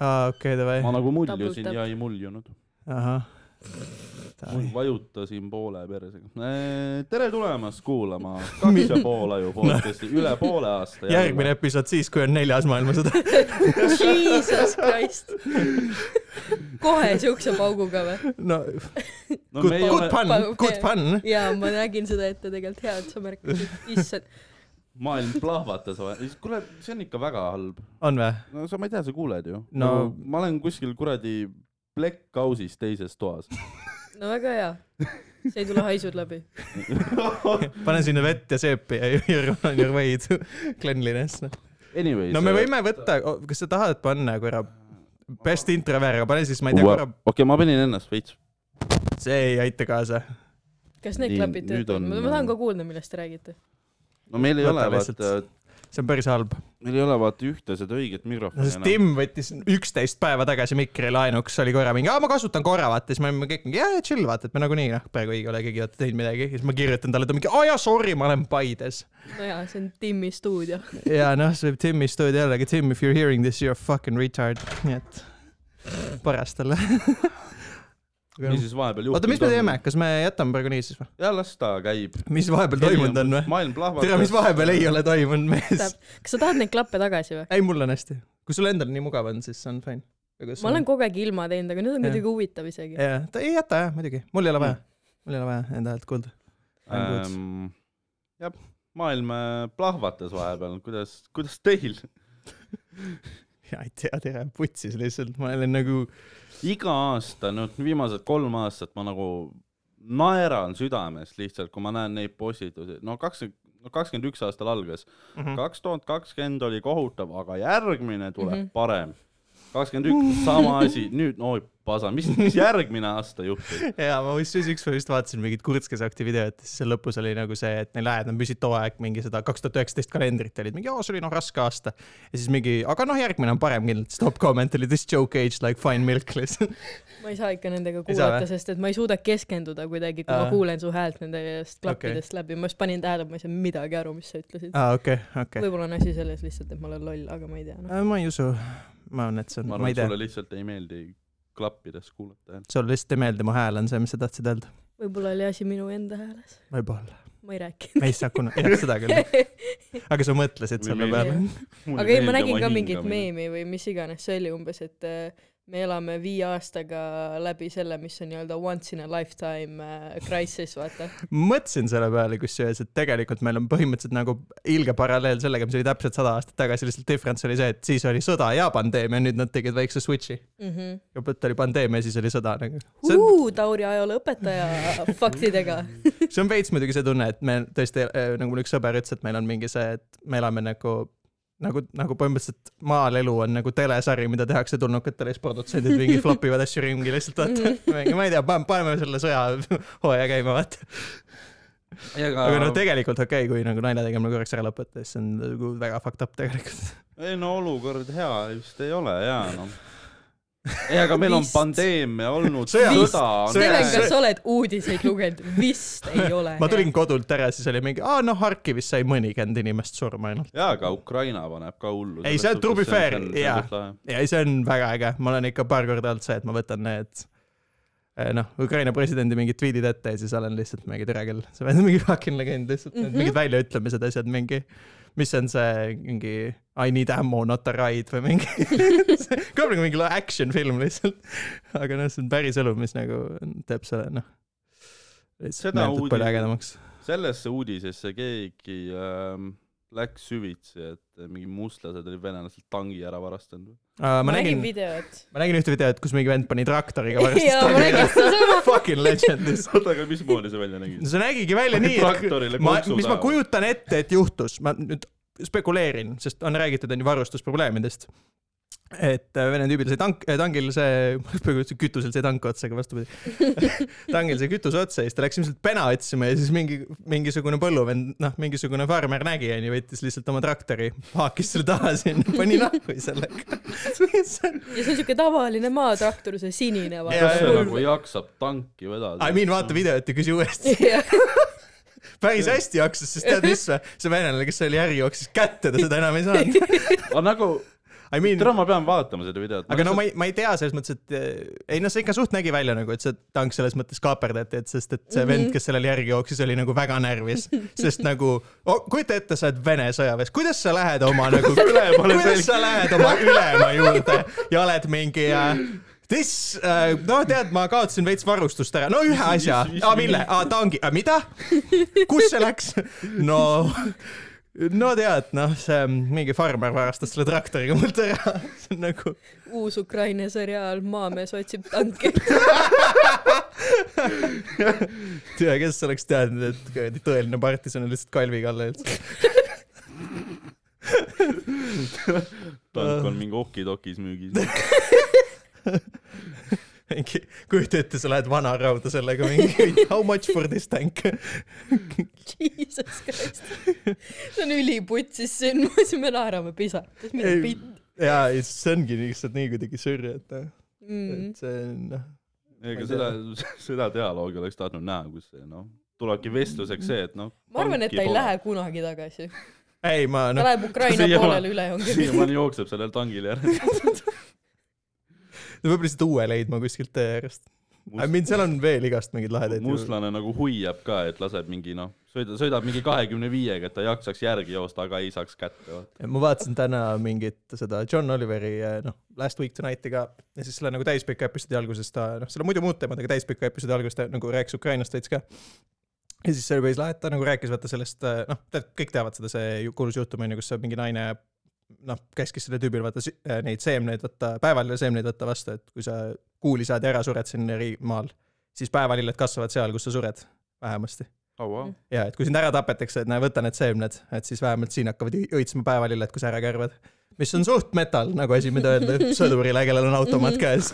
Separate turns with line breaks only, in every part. aa , okei , davai .
ma nagu muljusin
Taputab.
ja ei muljunud .
ahah .
vajutasin poole persega . tere tulemast kuulama kaks ja pool aju podcast'i , üle poole aasta .
järgmine . episood siis , kui on neljas maailmasõda .
Jesus Christ . kohe siukse pauguga või ?
no
no
good
me ei ,
good
ole ,
pun , good pun .
jaa , ma nägin seda ette tegelikult , hea , et sa märkasid . issand ,
maailm plahvatas , kuule , see on ikka väga halb .
on vä ?
no sa , ma ei tea , sa kuuled ju .
No-
ma olen kuskil kuradi plekk-kausis teises toas .
no väga hea . see ei tule haisud läbi .
pane sinna vett ja seepi ja you're on your way to cleanliness .
Anyways . äh,
no me võime võtta , kas sa tahad panna korra best introver , aga pane siis , ma ei tea , korra ,
okei , ma panin ennast veits .
see ei aita kaasa .
kas need
Nii,
klapid
nüüd
töötavad
on- ?
ma tahan ka kuulda , millest te räägite .
no meil ei
Võta
ole
lihtsalt.
vaata ,
see on päris halb .
meil ei ole vaata ühte seda õiget
no
mikrofoni
sest . Tim võttis üksteist päeva tagasi mikri laenuks , oli korra mingi , aa ma kasutan korra vaata , siis me olime kõik mingi jaa , jaa chill vaata , et me nagunii noh , praegu ei ole keegi vaata teinud midagi , siis ma kirjutan talle , ta mingi aa jaa sorry , ma olen Paides .
no jaa , see on Timmi stuudio .
ja noh , see Timmi stuudio jällegi , Tim if you are hearing this you are fucking retard , nii et paras talle .
mis
oota ,
siis vahepeal juhtunud
mis me teeme , kas me jätame praegu nii siis või ?
ja las ta käib .
mis vahepeal toimunud on või ?
maailm plahvatas .
tere , mis vahepeal ei ole toimunud , mees ?
kas sa tahad neid klappe tagasi või ?
ei , mul on hästi . kui sul endal nii mugav on , siis on fine .
ma olen kogu aeg ilma teinud , aga nüüd on
Jah. Eh.
muidugi huvitav isegi .
jaa , Mm. ta ei jäta jah , muidugi , mul ei ole vaja , mul ei ole vaja enda häält kuulda .
ähm, . jah , maailm äh, plahvatas vahepeal , kuidas , kuidas teil ?
ja ei tea , tere , putsis lihtsalt , ma olen nagu ,
iga aasta , nüüd viimased kolm aastat ma nagu naeran südames lihtsalt , kui ma näen neid postitusi , no kakskümmend , no kakskümmend üks aastal algas , kaks tuhat kakskümmend oli kohutav , aga järgmine tuleb mm
Mhm.
-hmm. parem . kakskümmend üks , sama asi , nüüd , oi pasa , mis , mis järgmine aasta juhtub ?
ja ma vist siis ükspäev just vaatasin mingit Kurtskese akti videot ja siis seal lõpus oli nagu see , et neil ajad on püsid too aeg mingi seda kaks tuhat üheksateist kalendrit olid mingi , aa see oli noh raske aasta . ja siis mingi , aga noh , järgmine on parem kindlalt , siis top comment oli this joke aged like fine milk lihtsalt .
ma ei saa ikka nendega
Ei saa,
kuulata
või? , Ah.
sest et ma ei suuda keskenduda kuidagi , kui
Aa.
ma kuulen su häält nendest klappidest läbi , ma just panin tähele , ma ei saanud midagi aru , mis sa ütlesid .
aa okei , Ah, okei .
võib-olla on asi selles lihtsalt , et ma olen loll , aga ma ei tea , noh .
ma ei usu , ma arvan , et see on ,
ma
ma
arvan ,
ei
et
tea
sulle lihtsalt ei meeldi klappides kuulata .
sulle lihtsalt ei meeldi mu hääl on see , mis sa tahtsid öelda ,
võib-olla oli asi minu enda hääles ,
võib-olla ,
ma ei
me ei saa kunagi , jah seda küll ,
rääkinud .
aga sa mõtlesid
Või
selle
meeldib.
peale .
aga ei , ma nägin ka mingit meemi või mis iganes , see oli umbes , et äh, me elame viie aastaga läbi selle , mis on nii-öelda once in a lifetime äh, crisis , vaata .
mõtlesin selle peale kusjuures , et tegelikult meil on põhimõtteliselt nagu ilge paralleel sellega , mis oli täpselt sada aastat tagasi , lihtsalt difference oli see , et siis oli sõda ja pandeemia , nüüd nad tegid väikse switch'i . kõigepealt oli pandeemia , siis oli sõda nagu . see on ,
Mhm. Huu, Tauri ajaloo õpetaja faktidega .
see on veits muidugi see tunne , et me tõesti , nagu mul üks sõber ütles , et meil on mingi see , et me elame nagu nagu , nagu põhimõtteliselt maal elu on nagu telesari , mida tehakse tulnukatele , siis produtsendid mingi flopivad asju ringi lihtsalt vaata . ma ei tea , paneme selle sõjahooaja käima vaata . aga noh , tegelikult okei okay, , kui nagu nalja tegemine korraks ära lõpetada , siis see on nagu väga fucked up tegelikult .
ei no olukord hea vist ei ole hea noh . ei , aga meil on
Vist.
pandeemia olnud ,
Sõja-
sõda
Sõja-
Steven ,
on .
kas sa oled uudiseid lugenud ? vist ei ole .
ma tulin kodult ära , siis oli mingi , aa noh , Harkivis sai mõnikümmend inimest surma ainult .
jaa , aga Ukraina paneb ka hullu .
Ei, see on to be fair, jaa. ja see on väga äge , ma olen ikka paar korda olnud see , et ma võtan need eh, noh , Ukraina presidendi mingid tweet'id ette ja siis olen lihtsalt mingi tere küll , sa oled mingi fucking legend lihtsalt mm , -hmm.
Mhm.
mingid väljaütlemised , asjad mingi , mis on see mingi I need ammo not a ride või mingi , ka nagu mingi action film lihtsalt . aga noh , see on päris elu , mis nagu teeb selle noh , lihtsalt
Seda
meeldib palju
uudis-
ägedamaks .
sellesse uudisesse keegi ähm, läks süvitsi , et mingi mustlased olid venelased tangi ära varastanud .
ma nägin ,
videot .
ma nägin ühte videot , kus mingi vend pani traktoriga
jaa , ma nägin
varastas .
seda sama .
Fucking legend lihtsalt .
oota , aga mismoodi see välja nägi ?
no see nägigi välja nii ,
traktorile
ma ,
kopsu
mis ma
taha.
kujutan ette , et juhtus , ma nüüd spekuleerin , sest on räägitud , on ju varustusprobleemidest . et äh, Vene tüübil sai tank , tankil see , ma just praegu ütlesin , kütusel sai tank otsa , aga vastupidi . tankil sai kütuse otsa ja siis ta läks ilmselt pena otsima ja siis mingi , mingisugune põlluvend , noh , mingisugune farmer nägi , onju , võttis lihtsalt oma traktori , haakis selle taha sinna , pani lahku sellega .
ja see on siuke tavaline maatraktor , see sinine
Jaa,
kas see
jaa.
nagu jaksab tanki vedada ?
I mean , vaata . videot ja küsi uuesti .
vaata .
päris hästi jooksis , sest tead mis või , see venelane , kes oli äri jooksis kätte , ta seda enam ei saanud .
aga nagu
I mean ,
tere , ma pean vaatama seda videot .
aga no ma ei , ma ei tea selles mõttes , et eh, ei noh , see ikka suht nägi välja nagu , et see tank selles mõttes kaaperdati , et sest , et see mm -hmm. vend , kes sellele järgi jooksis , oli nagu väga närvis , sest nagu oh, , kujuta ette , sa oled Vene sõjaväes , kuidas sa lähed oma nagu ,
ülemale
kuidas
selg-
sa lähed oma ülema juurde ja oled mingi äh, This uh, , no tead , ma kaotasin veits varustust ära , no ühe asja , aa mille , aa tangi , mida , kus see läks , no no tead , noh , see mingi farmer varastas selle traktoriga mult ära , see on nagu
uus Ukraina seriaal Maamees otsib tanke .
tea , kes oleks teadnud , et kuradi tõeline partisan on lihtsalt Kalvi Kalle üldse .
tank on mingi okidokis müügis .
mingi , kujuta ette , sa lähed vana rauda sellega mingi how much for this tank .
Jesus Christ . see on üliputsis sündmus ja me naerame pisarates , mida
Ei.
pitt
ja see ongi lihtsalt nii kuidagi sürje , et noh ,
mm.
et see on noh . Ma
ega
ei
seda , seda dialoogi oleks tahtnud näha , kus see noh , tulebki vestluseks see , et noh .
ma arvan , et ta ei lähe kunagi tagasi .
ei , ma
ta
noh ,
läheb Ukraina
siiamaani-
poolele üle , ongi .
siiamaani jookseb sellel tangil järgi .
peab lihtsalt uue leidma kuskilt tee äärest . I mean , seal on veel igast mingeid lahedaid .
muslane nagu huiab ka , et laseb mingi noh , sõidab , sõidab mingi kahekümne viiega , et ta jaksaks järgi joosta , aga ei saaks kätte . vaata .
ma vaatasin täna mingit seda John Oliveri eh, noh , Last Week Tonight'i ka ja siis selle nagu täispika episoodi alguses ta noh , seal on muidu muud teemad , aga täispika episoodi alguses ta nagu rääkis Ukrainast veits ka . ja siis see oli päris lahe , et ta nagu rääkis vaata sellest eh, noh , tead kõik teavad seda , see ju- kuulus juhtum on ju , kus see mingi naine noh , käskis sellele tüübile vaata si- eh, neid seemneid võtta , päeval seemneid võtta vastu , et kui sa kuuli saad ja ära sured siin eri- maal , siis päevalilled kasvavad seal , kus sa sured vähemasti
oh, wow.
ja et kui sind ära tapetakse , et näe , võta need seemned , et siis vähemalt siin hakkavad õi- õitsema päevalilled , kui sa ära kärvad . mis on suht metal , nagu asi , mida öelda sõdurile , kellel on automaat käes .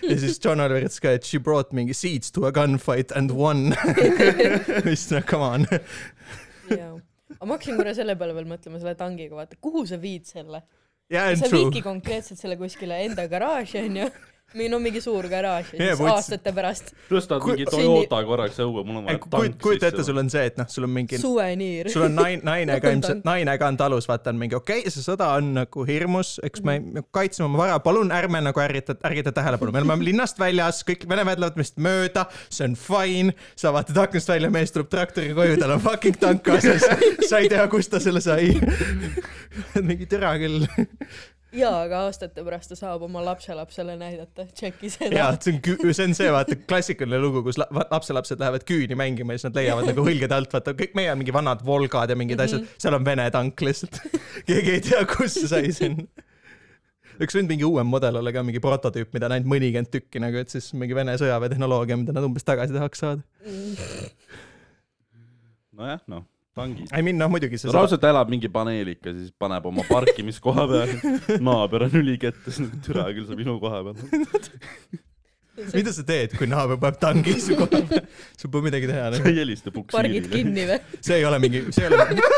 ja siis John Oliver ütles ka , et she brought mingi seeds to a gunfight and won . mis , no come on .
aga ma hakkasin korra selle peale veel mõtlema selle tangiga , vaata , kuhu sa viid selle ?
Yeah, and
sa
true
viidki . konkreetselt selle kuskile enda garaaži , onju . või no mingi suur garaaž ja siis
Jaa, ma mõtlesin-
aastate pärast
tõstad
Kui-
mingi Toyota korraks õue , mul on vaja tank
kujuta ette , sul on see , et noh , sul on mingi
suveniir .
sul on naine , naine ka
Võtan
ilmselt , naine ka on talus , vaata on mingi okei okay, , see sõda on nagu hirmus , eks me kaitseme oma vara , palun ärme nagu ärgita , ärgita tähelepanu , me oleme linnast väljas , kõik vene väed lähevad meist mööda , see on fine . sa vaatad aknast välja , mees tuleb traktori koju , tal on fucking tank kaasas , sa ei tea , kust ta selle sai . mingi türa küll .
jaa , aga aastate pärast ta saab oma lapselapsele näidata , tšeki
ja
seda .
see on , see on see , vaata klassikaline lugu , kus la- va- lapselapsed lähevad küüni mängima ja siis nad leiavad nagu hõlgede alt , vaata kõik meie mingi vanad Volgad ja mingid asjad , seal on Vene tank lihtsalt . keegi ei tea , kust see sai sinna . üks nüüd mingi uuem mudel oli ka mingi prototüüp , mida on ainult mõnikümmend tükki nagu , et siis mingi Vene sõjaväetehnoloogia , mida nad umbes tagasi tahaks saada .
nojah , noh , tangid .
I mean noh , muidugi see
raudselt elab mingi paneelika , siis paneb oma parkimiskoha peale , naaber on ülikettas , türa küll sa minu koha peal .
mida sa teed , kui naaber paneb tangi su koha peale ? sul pole midagi teha
sa
nagu. ,
ei helista
pargid
puksiirile .
kinni või ?
see ei ole mingi , see ei ole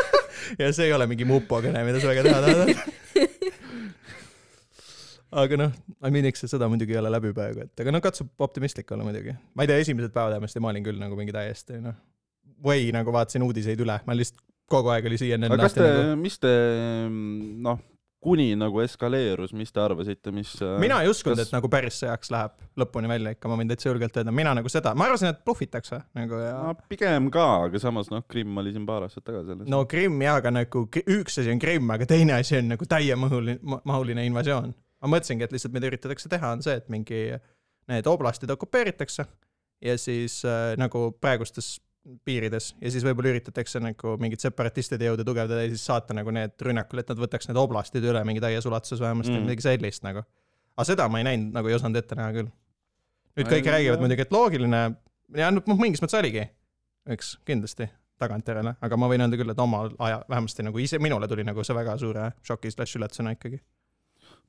ja see ei ole mingi mupokõne , mida sa väga teha tahad . aga noh , I mean eks see sõda muidugi ei ole läbi praegu , et aga no katsub optimistlik olla muidugi . ma ei tea , esimesed päevad vähemasti ma olin küll nagu mingi täiesti noh , või nagu vaatasin uudiseid üle , ma lihtsalt kogu aeg oli CNN
aga kas te
nagu... ,
mis te , noh , kuni nagu eskaleerus , mis te arvasite , mis ? äh,
mina ei uskunud
kas-
kas... , et nagu päris sõjaks läheb lõpuni välja ikka , ma võin täitsa julgelt öelda , mina nagu seda , ma arvasin , et blufitakse nagu ja
no pigem ka , aga samas noh , Krimm oli siin paar aastat tagasi alles .
no Krimm jaa , aga nagu kri- üks asi on Krimm , aga teine asi on nagu täiemahuline , mahuline invasioon . ma mõtlesingi , et lihtsalt mida üritatakse teha , on see , et mingi need oblastid okupeeritakse ja siis äh, nagu praegustes piirides ja siis võib-olla üritatakse nagu mingit separatistide jõude tugevdada ja siis saata nagu need rünnakule , et nad võtaks need oblastid üle mingi täies ulatuses vähemasti
Mm.
mm. , midagi sellist nagu . aga seda ma ei näinud , nagu ei osanud ette näha küll . nüüd
Ei,
kõik räägivad
jah.
muidugi , et loogiline ja noh , mingis mõttes oligi , eks kindlasti tagantjärele , aga ma võin öelda küll , et omal aja , vähemasti nagu ise , minule tuli nagu see väga suure šoki slaš üllatusena ikkagi .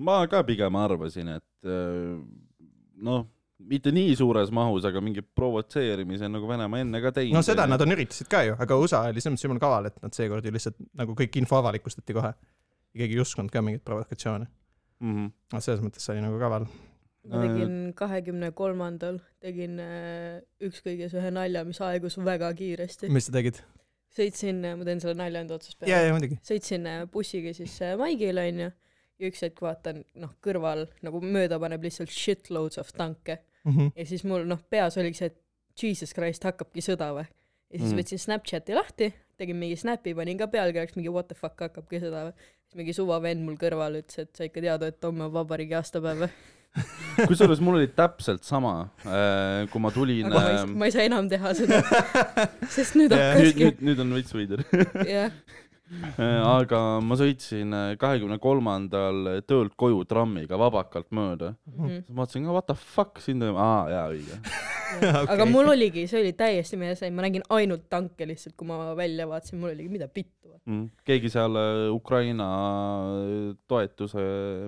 ma ka pigem arvasin , et öö, noh , mitte nii suures mahus , aga mingi provotseerimise nagu Venemaa enne ka teinud .
no seda nad on üritasid ka ju , aga USA oli selles mõttes jumala kaval , et nad seekord ju lihtsalt nagu kõik info avalikustati kohe . keegi ei uskunud ka mingeid provokatsioone .
mm . -hmm.
no selles mõttes see oli nagu kaval .
ma tegin kahekümne kolmandal , tegin äh, ükskõiges ühe nalja , mis aegus väga kiiresti .
mis sa tegid ?
sõitsin , ma teen selle nalja enda otsast
ja ,
peale .
ja muidugi .
sõitsin äh, bussiga siis äh, Maigile onju ja ja üks hetk vaatan noh kõrval nagu mööda paneb lihtsalt shitloads of tanke
Mhm,
ja siis mul noh peas oligi see , et jesus christ hakkabki sõda või . ja siis
Mhm.
mm. võtsin Snapchati lahti , tegin mingi snap'i , panin ka pealkirjaks mingi what the fuck hakkabki sõda või . siis mingi suva vend mul kõrval ütles , et sa ikka tead , et homme on vabariigi aastapäev või .
kusjuures mul oli täpselt sama , kui ma tulin . äh,
aga Nagu ma ei,
nüüd ,
ma ei saa enam teha seda , sest nüüd
ähm, Jah.
hakkaski ,
nüüd , nüüd on veits veider .
jah .
aga ma sõitsin äh, kahekümne kolmandal töölt koju trammiga vabakalt mööda .
mhm.
mm, Mhm.
siis ma vaatasin ka what the fuck siin toimub , aa jaa õige .
Okei.
okay. aga mul oligi , see oli täiesti meie sai , ma nägin ainult tanke lihtsalt , kui ma välja vaatasin , mul oligi mida pittu .
Mm. keegi seal äh, Ukraina äh, toetuse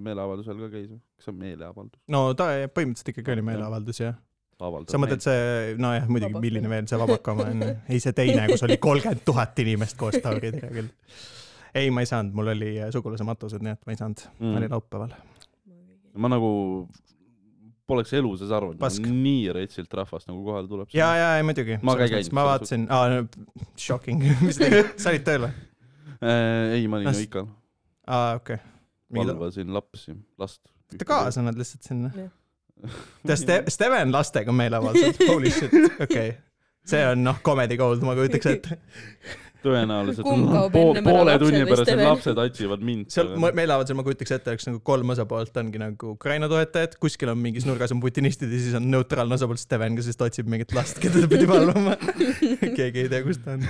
meeleavaldusel ka käis , kas see on meeleavaldus ?
no ta põhimõtteliselt ikkagi oli meeleavaldus jah . sa mõtled see , nojah , muidugi ,
Vabaka.
milline veel see vabaka oma on , ei see teine , kus oli kolmkümmend tuhat inimest koos tauridega küll . ei , ma ei saanud , mul oli äh, sugulase matused , nii et ma ei saanud , oli
mm. ?
laupäeval .
ma nagu poleks elu sees arvanud ,
Pask.
nii retsilt rahvast nagu kohale tuleb .
ja , ja , ei muidugi .
Ma ka ei käinud
ma
selles
vaatasin , aa , shocking , mis sa tegid , sa olid tööl või ?
äh, . ei , ma olin
Kas-
Noikal ,
aa , okei okay. .
valvasin lapsi , last .
Te kaasa annad lihtsalt sinna
Jah. ?
Te Ste- , Steven lastega on meeleavaldused , holy shit , okei okay. . see on noh , comedy gold , ma kujutaks ette .
tõenäoliselt
Kumb kaob
po
ennem ära,
poole
lapsed
tunni
või
pärast need
Steven?
lapsed otsivad mind .
seal ma- meeleavaldusel ma kujutaks ette , oleks nagu kolm osapoolt ongi nagu Ukraina toetajad , kuskil on mingis nurgas on putinistid ja siis on neutraalne osapool Steven , kes lihtsalt otsib mingit last , keda ta pidi valvama . keegi ei tea , kus ta on .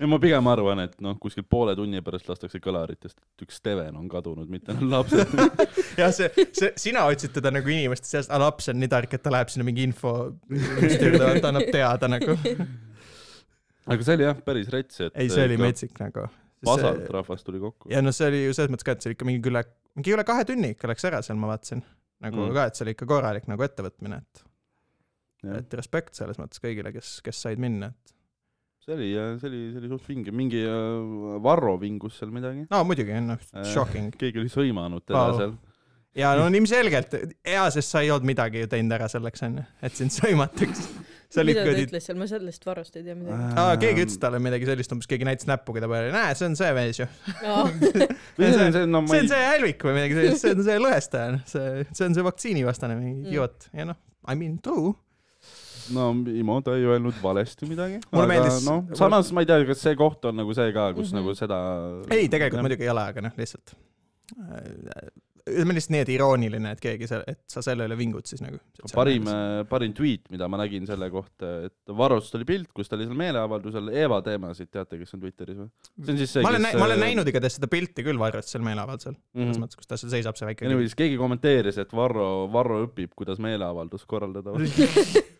ei , ma pigem arvan , et noh , kuskil poole tunni pärast lastakse kõlaritest , et üks Steven on kadunud , mitte need lapsed .
jah , see , see , sina otsid teda nagu inimeste seast , aga laps on nii tark , et ta läheb sinna mingi info , ta annab teada nagu .
aga see oli jah , päris rets , et .
ei , see oli . metsik nagu .
vasalt rahvast tuli kokku .
ja noh , see oli ju selles mõttes ka , et see oli ikka mingi üle , mingi üle kahe tunni ikka läks ära seal , ma vaatasin . nagu
Mm.
mm. ka , et see oli ikka korralik nagu ettevõtmine , et ,
see
et respekt selles mõttes kõigile , kes , kes said minna , et .
oli , see oli , see oli suht vinge , mingi äh, Varro vingus seal midagi .
no muidugi , noh , shocking .
keegi oli sõimanud teda
Vau.
seal .
ja no ilmselgelt , hea , sest sa ei olnud midagi ju teinud ära selleks , onju , et sind sõimataks . see oli
mida ta
ikkagi ,
ütles seal , ma sellest varust ei tea midagi .
aa , keegi ütles . talle midagi sellist , umbes keegi näitas näpuga ta peale , näe , see on see mees ju .
Äh, see on see , no ma
see on
ei ,
see hälvik või midagi sellist , see on see lõhestaja , noh , see , see on see vaktsiinivastane mingi
Mm.
idioot ja noh , I mean true .
no Imo , ta ei öelnud valesti midagi .
Mulle meeldis-
noh , samas ma ei tea , kas see koht on nagu see ka , kus
Mhm.
nagu seda .
ei , tegelikult . muidugi ei ole , aga noh , lihtsalt äh, ütleme lihtsalt nii , et irooniline , et keegi seal , et sa selle üle vingud siis nagu .
parim , äh, parim tweet , mida ma nägin selle kohta , et Varrost oli pilt , kus ta oli seal meeleavaldusel , Eva teemasid , teate , kes on Twitteris või ? see on siis see , äh,
ma olen , ma olen näinud igatahes seda pilti küll Varros seal meeleavaldusel mm. , selles
mm .
mõttes , kus ta seal seisab , see väike .
Anyways , keegi kommenteeris , et Varro , Varro õpib , kuidas meeleavaldust korraldada .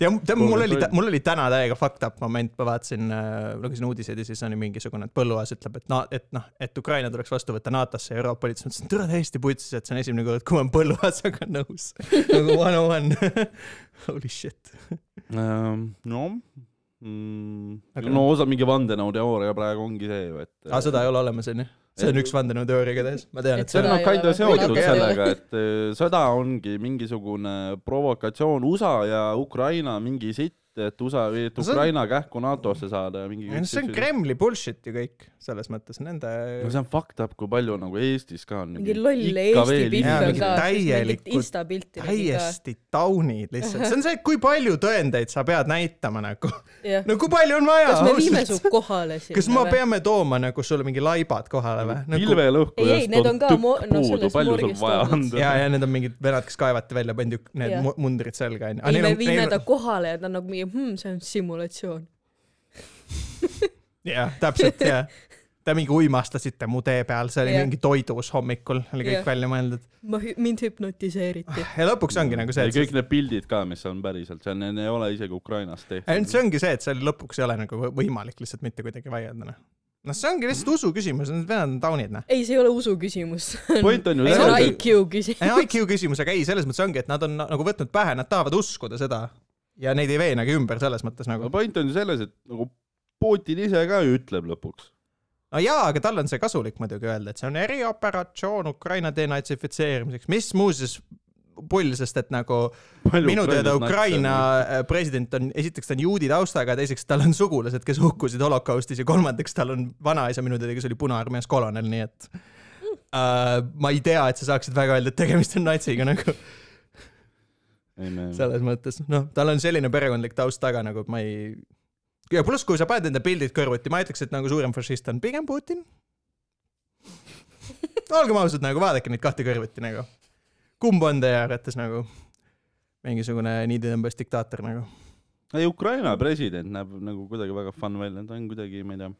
ja
noh ,
tead , mul oli
Kogu aeg. ,
mul oli täna täiega fucked up moment , ma vaatasin äh, , lugesin uudiseid ja siis oli mingisugune , et Põlluaas ütleb , et na- , et noh , et Ukraina tuleks vastu võtta NATO-sse ja Euroopa Liitu , siis ma mõtlesin , tule täiesti putsis , et see on esimene kord , kui ma olen Põlluaasaga nõus . nagu one on one . Holy shit . Ehm,
no
Aga-
mm, , no osa mingi vandenõuteooria praegu ongi see ju , et . äh,
aga Ah, seda ei ole olemas , onju . see on üks vandenõuteooria igatahes , ma tean , et
Et
see
see
Sõda
on
on noh
ei , ole
kinda
või-
seotud
Muidugi ei ole.
sellega , et eh, sõda ongi mingisugune provokatsioon USA ja Ukraina mingi sitt , et USA , et
No see on-
Ukraina kähku NATO-sse saada ja mingi .
ei no see on Kremli bullshit ju kõik , selles mõttes nende
no see on fucked up , kui palju nagu Eestis ka on .
mingi loll Eesti pilt
jaa,
on
mingi
ka , mingit
täielikud-
insta pilti nägin ka .
täiesti taunid lihtsalt , see on see , et kui palju tõendeid sa pead näitama nagu ,
jah ,
no kui palju on vaja
kas me viime su ? kohale sinna
kas ma ? peame tooma nagu sulle mingi laibad kohale või
Ei,
nagu, ?
ei,
pilvelõhkujast
need
on,
on
on
ka
tükk
mo- no
puudu
selles ,
palju sul
morgis
vaja
toodud.
ja
anda .,
ja need on mingid venad , kes kaevati välja , pandi need
Jah.
mu- mundrid selga onju .
ei , me viime ta kohale ja ta on nagu mingi , see on simulatsioon .
jah , täpselt jah . Te mingi uimastasite mu tee peal , see oli
Jah.
mingi toidus hommikul , oli kõik
Jah.
välja mõeldud .
ma , mind hüpnotiseeriti .
ja lõpuks ongi nagu see ,
ja
et sa
kõik need pildid ka , mis on päriselt , see on , need ei ole isegi Ukrainast
ainult
tehtud .
see ongi see , et seal lõpuks ei ole nagu võ- võimalik lihtsalt mitte kuidagi vaielda , noh . noh , see ongi lihtsalt usu küsimus , need venelad on taunid , noh .
ei , see ei ole usu küsimus . see
point on ju
Ei, see
on
selles , et
IQ küsimus .
ei , IQ küsimus , aga ei , selles mõttes ongi , et nad on nagu võtnud pähe , nad tahavad uskuda seda ja neid ei veenagi ümber selles mõttes
aga
nagu .
point on ju selles , et nagu Putin ise ka ju ütleb lõpuks .
no jaa , aga tal on see kasulik muidugi öelda , et see on erioperatsioon Ukraina denatsifitseerimiseks , mis muuseas pull , sest et nagu minu teada Ukraina äh, president on , esiteks ta on juudi taustaga , teiseks tal on sugulased , kes hukkusid holokaustis ja kolmandaks tal on vanaisa minu teada , kes oli Punaarmees kolonel , nii et äh, ma ei tea , et sa saaksid väga öelda , et tegemist on natsiga nagu
ei me ,
selles mõttes , noh , tal on selline perekondlik taust taga nagu , et ma ei . ja pluss , kui sa paned enda pildid kõrvuti , ma ütleks , et nagu suurem fašist on pigem Putin . olgem ausad , nagu vaadake neid kahte kõrvuti nagu . kumb on teie arvates nagu mingisugune niiditõmbes diktaator nagu ?
ei Ukraina president näeb nagu kuidagi väga fun välja , ta on kuidagi , ma ei tea ,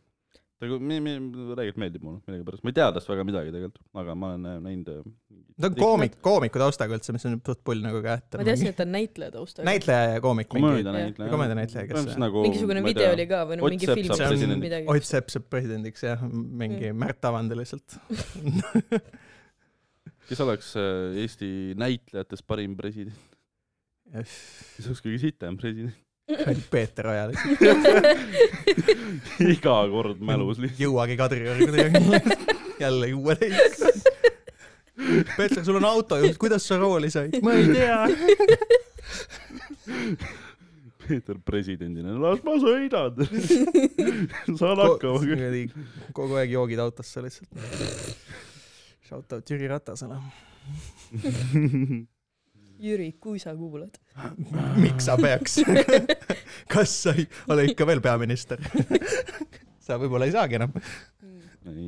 ta ku- mi- mi- tegelikult meeldib mulle millegipärast , ma ei tea tast väga midagi tegelikult , aga ma olen äh, näinud äh,
ta on koomik , koomiku taustaga üldse , mis on suht pull nagu ka , et
ma teadsin , et ta on näitleja taustaga .
näitleja ja koomik mingi .
komöödianäitleja .
komöödianäitleja, kes-
nagu,
mingisugune
ma ei
video
tea,
oli ka või no
Ott
mingi
Sepp
film
saab
või
presidendi-
midagi . Mm.
Ott Sepp saab presidendiks jah , mingi Märt Avande lihtsalt .
kes oleks äh, Eesti näitlejatest parim president , kes oleks kõige sitem president
Peeter Oja lihtsalt .
iga kord mälus lihtsalt .
jõuagi Kadriorgu jälle kuueteist . Peeter , sul on autojuht , kuidas sa rooli said ? ma ei tea .
Peeter presidendina , las ma sõidan . saan hakkama küll .
kogu aeg joogid autosse lihtsalt . Shout out Jüri Ratasele .
Jüri , kui sa kuulad .
miks sa peaks ? kas sa ei ole ikka veel peaminister ? sa võib-olla ei saagi enam .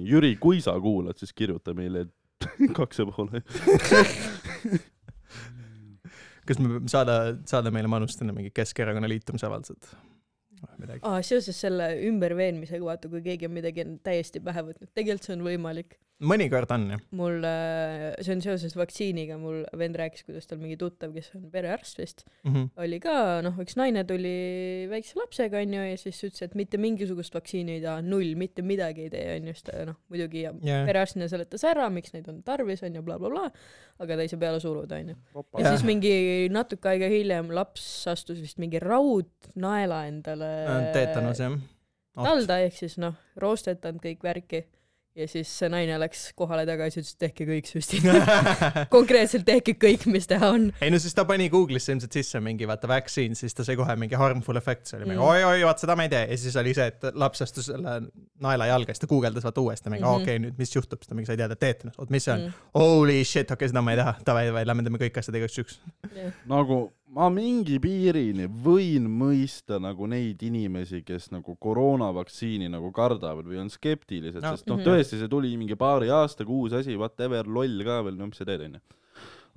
Jüri , kui sa kuulad , siis kirjuta meile kaks ja pool .
kas me peame saada , saada meile Manust enne mingi Keskerakonna liitumisavaldused ? midagi .
aa , seoses selle ümberveenmisega , vaata , kui keegi on midagi on täiesti pähe võtnud , tegelikult see on võimalik .
mõnikord on jah .
mul , see on seoses vaktsiiniga , mul vend rääkis , kuidas tal mingi tuttav , kes on perearst vist ,
Mhm.
oli ka , noh , üks naine tuli väikse lapsega , onju , ja siis ütles , et mitte mingisugust vaktsiini ei taha , null , mitte midagi ei tee , onju , sest ta, noh , muidugi ja
ja ,
perearstina seletas ära , miks neid on tarvis , onju bla, , blablabla , aga ta ei saa peale suruda , onju . ja
Jaa.
siis mingi natuke aega hiljem laps astus vist mingi raudnaela endale
teetanos Äh, jah .
talda , ehk siis noh , roostetanud kõik värki ja siis see naine läks kohale tagasi , ütles , et tehke kõik süstid . konkreetselt tehke kõik , mis teha on .
ei no siis ta pani Google'isse ilmselt sisse mingi vaata vaktsiin , siis ta sai kohe mingi harmful effect , see oli mingi
Mm.
oi-oi , vaat seda ma ei tee ja siis oli see , et laps astus selle naela jalga , siis ta guugeldas vaata uuesti mingi mm
Mhm.
-hmm. okei okay, , nüüd mis juhtub , siis ta mingi sai teada , et teetanus , oot mis see on mm. , holy shit , okei okay, , seda ma ei taha , davai , davai , lähme teeme kõik asjad igaks juhuks .
nagu ma mingi piirini võin mõista nagu neid inimesi , kes nagu koroonavaktsiini nagu kardavad või on skeptilised
No.
no. , sest noh ,
Mhm.
tõesti , see tuli mingi paari aastaga uus asi , whatever , loll ka veel , no mis sa teed , onju .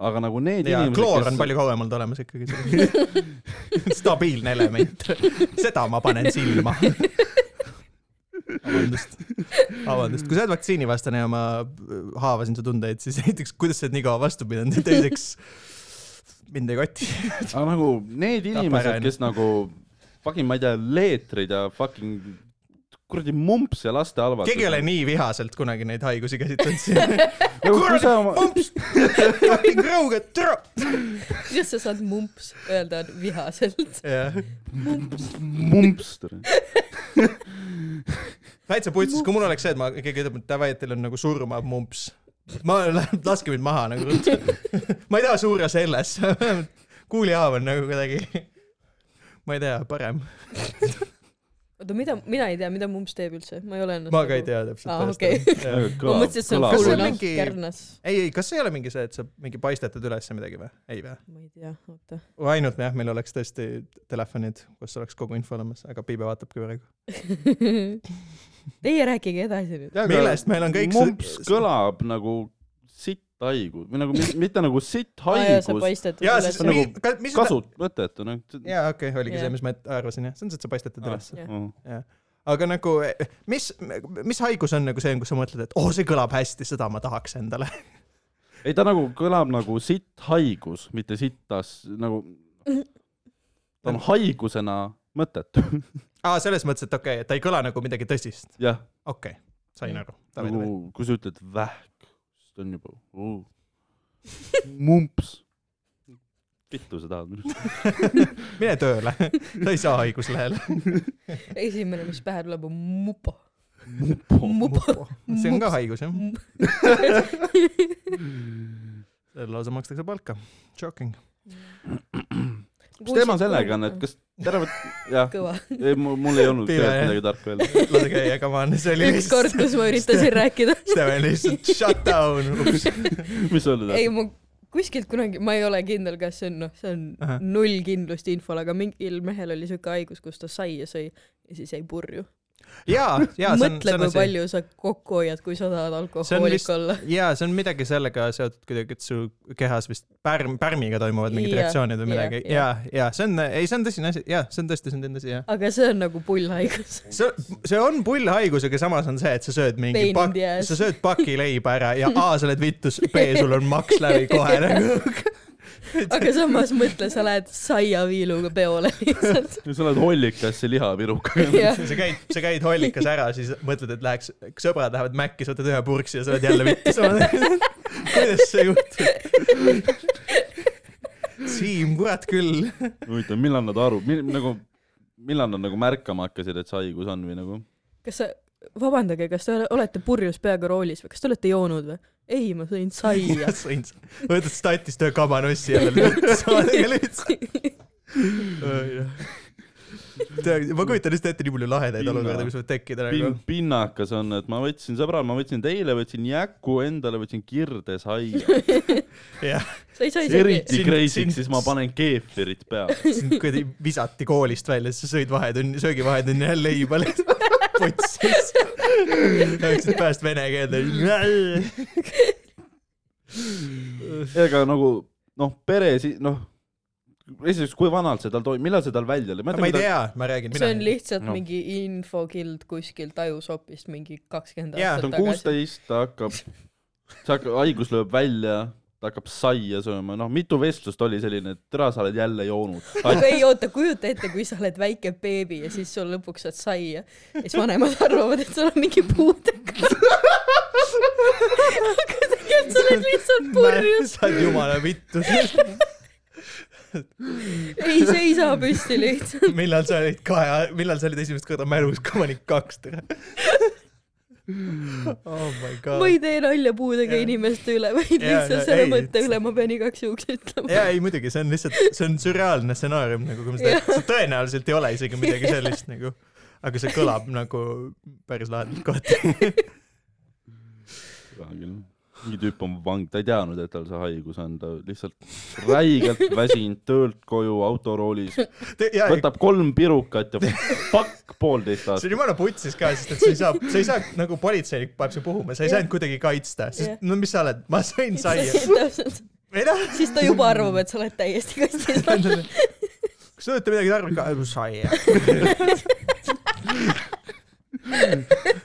aga nagu need
ja
inimesed ,
kloor on
kes
palju kauem olnud olemas ikkagi . stabiilne element , seda ma panen silma . vabandust , vabandust , kui sa oled vaktsiinivastane ja ma äh, haavasin su tundeid , siis esiteks , kuidas sa oled nii kaua vastu pidanud ja teiseks mind ei koti .
aga nagu need
Tapa ära
inimesed ,
enne.
kes
noh.
nagu fucking , ma ei tea , leetrid ja fucking kuradi mumps ja laste halvatus .
keegi ei ole nii vihaselt kunagi neid haigusi käsitlenud siin .
Nagu
kuradi
nii .
pomps , fucking rauged , türa .
kuidas sa saad mumps öelda vihaselt ?
jah ,
mumps .
täitsa putsis , kui mul oleks see , et ma , keegi ütleb , et davai , et teil on nagu surmav mumps . ma , laske mind maha nagu ruttu . ma ei taha surra selles . kuulihaav on nagu kuidagi , ma ei tea , parem .
oota , mida , mina ei tea , mida mumps teeb üldse , ma ei ole ennast .
ma ka ei . tea täpselt
Aa,
okay. .
ma mõtlesin , et see on noh. kärnas
Kõlab. Kas see on mingi- ,
kärnas .
ei , ei , kas ei ole mingi see , et sa mingi paistetad üles midagi või ? ei või ?
ma ei tea , oota .
ainult jah , meil oleks tõesti telefonid , kus oleks kogu info olemas , aga Piibe vaatabki praegu .
Teie rääkige edasi nüüd .
millest meil on kõik see-
mumps kõlab nagu sitthaigus või nagu mi- mitte nagu
sa
sitthaigus ,
paistad .
jaa , sest
nagu
mi- ka- mis ta-
kasut- , mõttetu noh .
jaa , okei okay, , oligi
Jaa.
see , mis ma et- arvasin jah , see on see , et sa paistetad
Aa.
üles .
Oh.
aga nagu , mis , mis haigus on nagu see , kus sa mõtled , et oo oh, , see kõlab hästi , seda ma tahaks endale .
ei , ta nagu kõlab nagu sitthaigus , mitte sittas , nagu ta on haigusena mõttetu ,
aa , selles mõttes , et okei okay, , et ta ei kõla nagu midagi tõsist .
jah .
okei okay, ,
Mm.
sain aru .
nagu , kui sa ütled vähk , siis ta on juba uh, mumps . kittu sa tahad minust ?
mine tööle , sa ei saa haiguslehele .
esimene , mis pähe tuleb , on mupo .
mupo .
mupo .
see on ka haigus jah
Mm. .
selle lausa makstakse palka . Shocking .
mis teema sellega on , et kas terve , jah ,
kõva .
ei mul , mul ei olnud
Pime,
tegelikult
jah.
midagi tarka öelda .
lase käia , come on , see oli
ükskord ,
lihtsalt ,
kus ma üritasin rääkida .
see oli lihtsalt shut down , ups .
mis sa oled ?
ei , ma kuskilt kunagi , ma ei ole kindel , kas see on , noh , see on
Ahah.
null kindlust infol , aga mingil mehel oli siuke haigus , kus ta sai ja sõi ja siis jäi purju .
jaa , jaa , see on ,
mõtle ,
see on
kui
asi .
palju sa kokku hoiad , kui sa tahad
See on
alkohoolik
vist-
olla .
jaa , see on midagi sellega seotud kuidagi , et su kehas vist pärm , pärmiga toimuvad mingid
Jah,
reaktsioonid või
jah,
midagi .
jah.
jaa , jaa , see on , ei , see on tõsine asi , jaa , see on tõesti , see on tõsine asi , jah .
aga see on nagu pull haigus .
see , see on pull haigus , aga samas on see , et sa sööd mingi
Pain in
pakk
the , ass.
sa sööd paki leiba ära ja A sa oled vittus , B sul on maks läbi kohe nagu .
aga samas mõtle , sa lähed saiaviiluga peole lihtsalt .
sa oled hollikas see lihapirukaga .
jah ,
sa käid , sa käid hollikas ära , siis mõtled , et läheks , sõbrad lähevad Maci , sa võtad ühe purksi ja sa oled jälle vittus . kuidas see juhtub ? Siim , kurat küll .
huvitav , millal nad aru , nagu , millal nad nagu märkama hakkasid , et see haigus on või nagu ?
kas sa , vabandage , kas te ole- olete purjus peaga roolis või kas te olete joonud või ? ei , ma sõin saia .
võtad statist ühe kabanossi jälle vittus . ma kujutan lihtsalt ette nii palju lahedaid
Pinna.
olukordi , mis võivad tekkida nagu
pin- , pinnakas on , et ma võtsin , sõbrad , ma võtsin teile , võtsin jäku endale , võtsin kirdes haia .
jah .
sa ei saa isegi ,
eriti
Sind- sind-
kreisiks , siis ma panen keefirit peale .
sind kuradi visati koolist välja , siis sa sõid vahetunni , söögivahetunni jälle leiba lihtsalt potsis . rääkisid pääst vene keelde .
ega nagu noh , pere si- , noh , esiteks , kui vanalt see tal toimub , millal see tal välja oli ?
ma ei tea , ma räägin ,
see
mina
on . lihtsalt
No.
no. mingi infokild kuskilt ajusopist mingi kakskümmend
Jaa,
aastat
ta on
tagasi .
kuusteist , ta hakkab , see hakkab , haigus lööb välja , ta hakkab saia sööma , noh , mitu vestlust oli selline , et tere , sa oled jälle joonud .
aga ei oota , kujuta ette , kui sa oled väike beebi ja siis sul lõpuks saad saia ja siis vanemad arvavad , et sa oled mingi puudega . aga tegelikult sa oled lihtsalt purjus .
sa oled jumala vittus ,
ei seisa püsti lihtsalt .
millal sa olid kahe , millal sa olid esimest korda mälus , kui ma olin kaks tere . Oh my
ma ei
god .
tee nalja puudega
Jaa.
inimeste üle , vaid
Jaa,
lihtsalt
no
selle
ei,
mõtte
et-
üle ma pean igaks juhuks ütlema .
jaa , ei muidugi , see on lihtsalt , see on sürreaalne stsenaarium nagu , kui ma seda , see tõenäoliselt ei ole isegi midagi sellist nagu , aga see kõlab nagu päris lahedalt kohati .
mingi tüüp on vang , ta ei teadnud , et tal see haigus on , ta lihtsalt räigelt väsinud töölt koju autoroolis ,
jaa , ei
võtab kolm pirukat ja fuck poolteist
see
aastat .
on jumala putsis ka , sest et sa ei saa , sa ei saa nagu politseinik paneb su puhuma , sa ei saa end kuidagi kaitsta ,
Jah.
sest no mis sa oled , ma sõin saia .
täpselt ,
ei noh ,
siis ta juba arvab , et sa oled täiesti kastis .
kas te olete midagi tarvinud ka ? saia .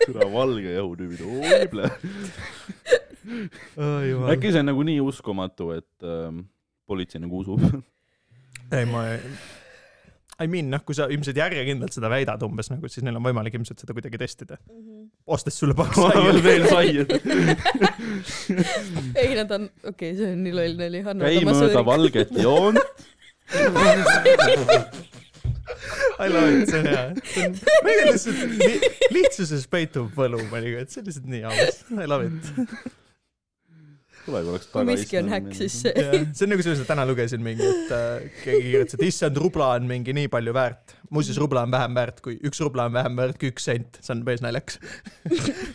türa valge jõutüübid , oi plä- . äkki see on nagu nii uskumatu , et ähm, politsei nagu usub .
ei , ma ei . I mean , noh , kui sa ilmselt järjekindlalt seda väidad umbes nagu , siis neil on võimalik ilmselt seda kuidagi testida . ostes sulle pakk saia .
veel sai , et
ei , nad on , okei okay, , see on nii loll nali , Hanno .
käi mööda . valget joont .
I love it , see on hea . ma ei tea , lihtsalt li, lihtsuses peitub võlu mõnikord , see on lihtsalt nii aus . I love it .
tulevikus oleks
kui miski on häkk , siis see .
Jah, see on nagu selles , et täna lugesin mingi , et äh, keegi kirjutas , et issand , rubla on mingi nii palju väärt . muuseas , rubla on vähem väärt kui , üks rubla on vähem väärt kui üks sent , see on päris naljakas .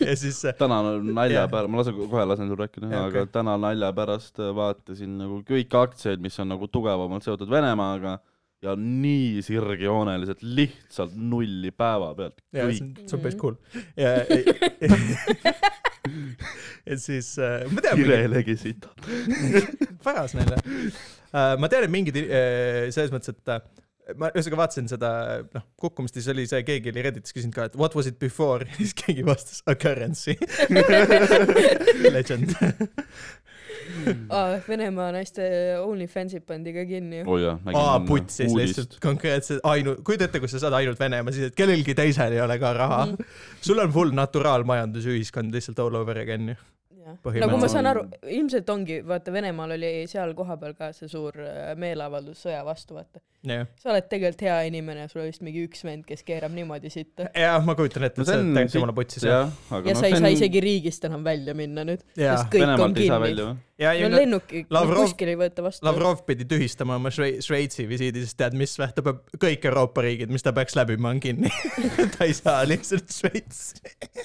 ja siis äh,
täna nalja
Jah.
pärast , ma lasen , kohe lasen sul rääkida
Jaa, ,
aga
okei.
täna nalja pärast vaatasin nagu kõiki aktsiaid , mis on nagu tugevamalt seotud Venemaaga ja nii sirgjooneliselt lihtsalt nulli päevapealt
ja
kõik
see . on , see on päris cool . ja , ja , ja siis äh, ma tean ,
Kirelegi siit .
paras neile . ma tean , et mingid äh, selles mõttes , et äh, ma ühesõnaga vaatasin seda , noh , kukkumist ja siis oli see , keegi oli Redditis küsinud ka , et what was it before , siis keegi vastas a currency . Legend .
aa , Venemaa naiste OnlyFansid pandi ka kinni ju .
oo jaa ,
aa ,
nägin
putsis lihtsalt . konkreetselt ainult , kujuta ette , kui sa saad ainult Venemaa , siis et kellelgi teisel ei ole ka raha . sul on full naturaalmajandusühiskond lihtsalt all over again ju .
nagu ma saan aru , ilmselt ongi , vaata Venemaal oli seal kohapeal ka see suur äh, meeleavaldus sõja vastu , vaata .
jah ,
sa oled tegelikult hea inimene , sul on vist mingi üks vend , kes keerab niimoodi sitta .
jah , ma kujutan ette , et see on tegelikult jumala putsis jah .
jah , aga
ja sa ei saa isegi riigist enam välja minna nüüd ,
Jaa.
sest kõik on
Venemaalt ei saa
kinni
välja . või ?
ja ,
no
ja
lennuki
Lavrov-
kuskil ei võeta vastu .
Lavrov pidi tühistama oma Šve- Šveitsi visiidi , sest tead mis , ta peab kõik Euroopa riigid , mis ta peaks läbima , on kinni . ta ei saa lihtsalt Šveitsi .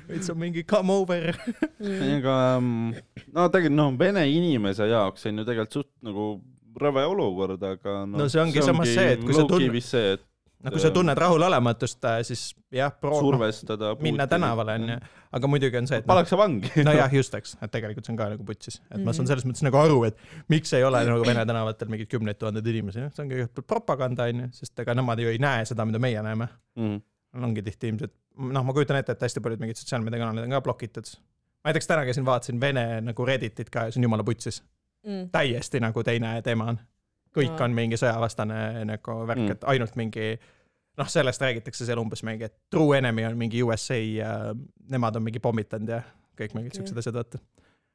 Šveits on mingi come over .
mm. .
ega mm, no tegelikult noh , vene inimese jaoks on ju tegelikult suht nagu rõve olukord , aga noh,
No see ongi samas see, et kui sa
low-key
tunn-
vist see , et
no kui sa tunned rahulolematust , siis jah , proovi
survestada .
Oh, noh, minna tänavale onju , aga muidugi on see , et
pannakse vangi .
nojah , just eks , et tegelikult see on ka nagu putsis , et mm -hmm. ma saan selles mõttes nagu aru , et miks ei ole nagu Vene tänavatel mingeid kümneid tuhandeid inimesi , noh , see on kõigepealt propaganda onju , sest ega nemad ju ei näe seda , mida meie näeme .
Mhm.
Nad ongi tihti ilmselt , noh , ma kujutan ette , et hästi paljud mingid sotsiaalmeediakanalid on ka blokitud . ma näiteks täna käisin , vaatasin Vene nagu Redditit ka ja see on jumala putsis ,
Mm.
täiesti nagu teine teema on . kõik
Aa.
on mingi sõjavastane nagu värk
Mm.
mm. , et ainult mingi noh , sellest räägitakse seal umbes mingi , et true enemy on mingi USA ja nemad on mingi pommitanud ja kõik mingid
Okei.
siuksed asjad , vaata .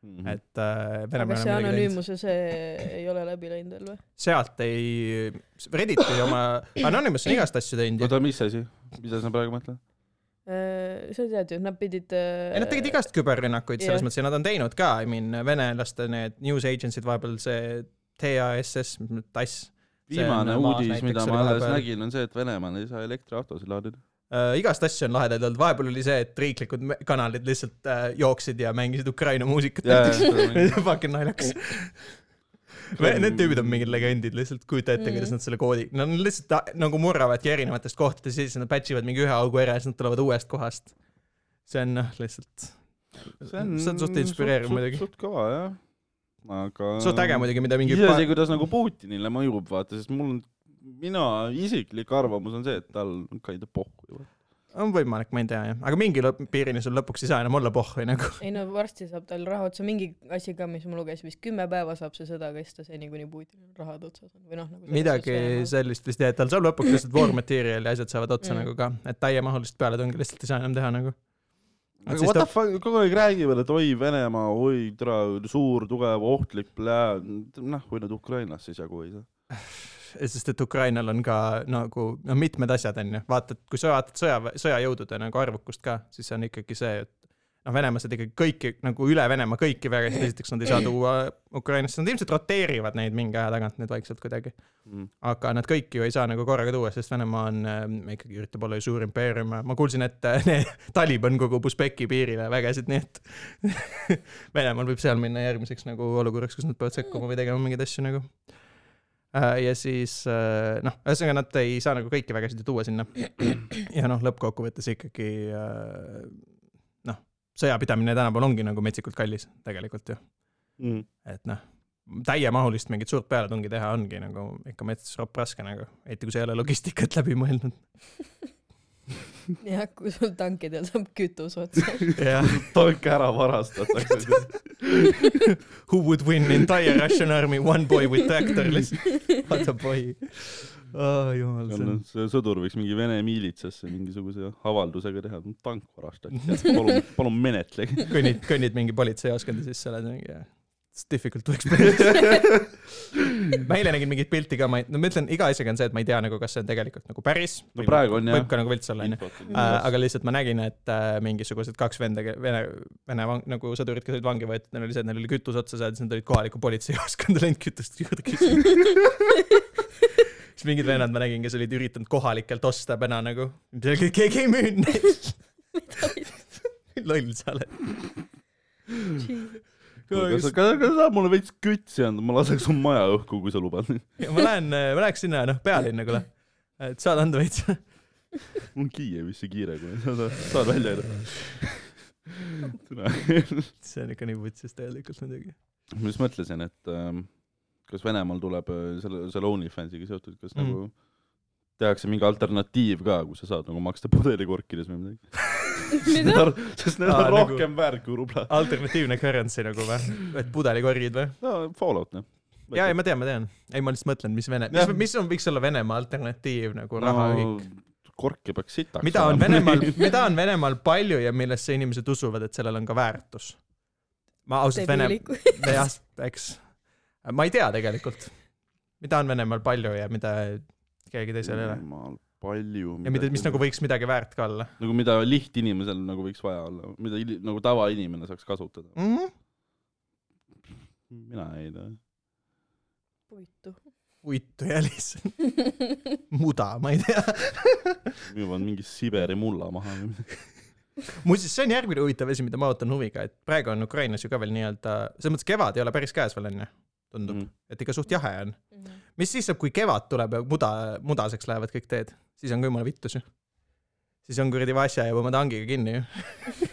Mhm.
et äh,
Mm. aga
Venemaal on
see
midagi teinud .
anonüümuse , see ei ole läbi läinud veel või ?
sealt ei , Reddit ei oma , Anonymous on igast asju teinud ju .
oota , mis asi , mida sa praegu mõtled ?
Äh, sa tead ju , nad pidid . äh,
ei nad tegid igast küberrünnakuid selles
jah.
mõttes ja nad on teinud ka , I mean venelaste need news agency'd vahepeal see TASS , TASS See on
viimane
maas
uudis ,
näiteks
mida
oli
ma alles
vahepeal.
nägin , on see , et Venemaal ei saa elektriautosid laadida .
äh, . igast asju on lahedaid olnud , vahepeal oli see , et riiklikud me- kanalid lihtsalt äh, jooksid ja mängisid Ukraina muusikat
Jaa,
näiteks
jaa, see .
Fucking naljakas . Need tüübid on mingid legendid , lihtsalt kujuta ette , kuidas nad selle koodi , nad on lihtsalt ta- nagu murravadki erinevatest kohtadest , siis nad patch ivad mingi ühe augu ära ja siis nad tulevad uuest kohast . see on noh , lihtsalt see on suht inspireeriv muidugi.
suht kõva jah , aga .
suht äge muidugi , mida mingi
iseasi , kuidas nagu Putinile mõjub , vaata , sest mul on , mina isiklik arvamus on see , et tal on kaide pohhu .
on võimalik , ma ei tea jah , aga mingi lõp- piirini sul lõpuks ei saa enam olla pohhui nagu .
ei no varsti saab tal raha otsa , mingi asi ka , mis ma lugesin , vist kümme päeva saab see sõda kesta , seni kuni Putinil rahad otsas on või noh , nagu .
midagi . sellist vist jah , et tal saab lõpuks lihtsalt war material ja asjad saavad otsa
Mm.
mm. nagu ka , et täiemahulist pealetungi lihtsalt ei saa enam teha nagu .
aga what the fuck , kogu aeg räägivad , et oi Venemaa , oi tere , suur , tugev , ohtlik , noh , kui nad Ukrainasse siis jagu ei saa .
sest et Ukrainal on ka nagu no mitmed asjad onju , vaatad , kui sa vaatad sõja , sõjajõudude nagu arvukust ka , siis on ikkagi see , et noh , venelased ikkagi kõiki nagu üle Venemaa kõiki väga hästi , esiteks nad ei saa tuua Ukrainasse , nad ilmselt roteerivad neid mingi aja tagant nüüd vaikselt kuidagi . aga nad kõiki ju ei saa nagu korraga tuua , sest Venemaa on äh, ikkagi üritab olla ju suur impeerium , ma kuulsin , et äh, ne- Taliban kogub Usbeki piirile vägesid , nii et Venemaal võib seal minna järgmiseks nagu olukorraks , kus nad peavad sekkuma või tegema mingeid asju nagu . ja siis äh, noh , ühesõnaga nad ei saa nagu kõiki vägesid ju tuua sinna . ja noh , lõppkokkuvõttes ikkagi äh, noh , sõjapidamine tänapäeval ongi nagu metsikult kallis tegelikult ju , et noh täiemahulist mingit suurt pealetungi teha ongi nagu ikka mets ropp raske nagu , eriti kui sa ei ole logistikat läbi mõelnud .
jah , kui sul tankidel saab kütus otsa .
jah ,
tanke ära varastatakse .
who would win entire Russian army one boy with tractor lihtsalt , what a boy oh, . jumal , see on ,
see sõdur võiks mingi Vene miilitsasse mingisuguse avaldusega teha , tank varastati , palun , palun menetlege .
kõnnid , kõnnid mingi politseijaoskonda sisse , oled mingi yeah. It's difficult to explain . ma eile nägin mingit pilti ka , ma ei , no ma ütlen , iga asjaga on see , et ma ei tea nagu , kas see on tegelikult nagu päris .
no praegu on
võib
jah .
ka nagu vilts olla , onju . äh, aga lihtsalt ma nägin , et äh, mingisugused kaks venda , vene , vene vang, nagu sõdurit , kes olid vangi võetud , neil oli see , et neil oli kütus otsas ja siis nad olid kohaliku politseijaoskonda läinud kütust juurde küsima . siis mingid vennad ma nägin , kes olid üritanud kohalikelt osta täna nagu , keegi ei müünud neid . loll sa oled .
kas sa , kas sa saad mulle veits kütsi anda , ma laseks su maja õhku , kui sa lubad .
ma lähen , ma läheks sinna , noh , pealinna , kuule . et saad anda veits .
mul on Kiievisse kiire , kui sa saad, saad välja öelda .
see on ikka nii vutsis tegelikult muidugi .
ma just mõtlesin , et ähm, kas Venemaal tuleb äh, selle , selle OnlyFansiga seotud , kas
Mm.
mm. nagu tehakse mingi alternatiiv ka , kus sa saad nagu maksta pudelikorkides või midagi .
mida ?
sest need
Aa,
on
nagu-
rohkem väärt kui rubla .
alternatiivne currency nagu või ? et pudelikorgid või ?
no Fallout noh .
ja , ja ma tean , ma tean , ei ma lihtsalt mõtlen , mis Vene , mis
Jah. ,
mis on , võiks olla Venemaa alternatiiv nagu rahaühik no, .
korki peaks sitaks
mida on Venemaal , mida on Venemaal palju ja millesse inimesed usuvad , et sellel on ka väärtus . ma ausalt Vene ,
debiiliku .
jah , eks . ma ei tea tegelikult , mida on Venemaal palju ja mida keegi teisel ei ole .
jumal , palju .
ja mida , mis nagu võiks midagi väärt ka olla
nagu mida lihtinimesel nagu võiks vaja olla , mida ili- nagu tavainimene saaks kasutada .
mm . -hmm.
mina ei tea .
puitu .
uitu ja lihtsalt muda , ma ei tea .
juba on mingi Siberi mulla maha või midagi .
muuseas , see on järgmine huvitav asi , mida ma ootan huviga , et praegu on Ukrainas ju ka veel nii-öelda , selles mõttes kevad ei ole päris käes veel onju , tundub mm. , et ikka suht jahe on . mis siis saab , kui kevad tuleb ja muda , mudaseks lähevad kõik teed , siis on ka jumala vittus ju . siis on kuradi Vaša jääb oma tangiga kinni ju uh, .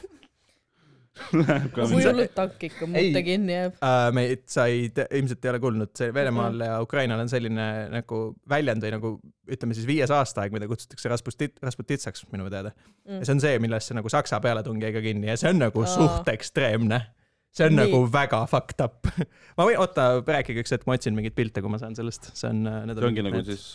Läheb ka
aga kui
mingi .
hullult tank ikka
Ei.
mutta kinni jääb .
Äh, meid sa ei , ilmselt ei ole kuulnud , see Venemaal ja Ukrainal on selline nagu väljend või nagu ütleme siis viies aastaaeg , mida kutsutakse Rasputit- , Rasputitsaks minu teada . ja see on see , millesse nagu Saksa pealetung jäi ka kinni ja see on nagu
Aa.
suht ekstreemne . see on
Nii.
Nii. nagu väga fucked up . ma võin , oota , rääkige üks hetk , ma otsin mingeid pilte , kui ma saan sellest , see on .
see ongi nagu siis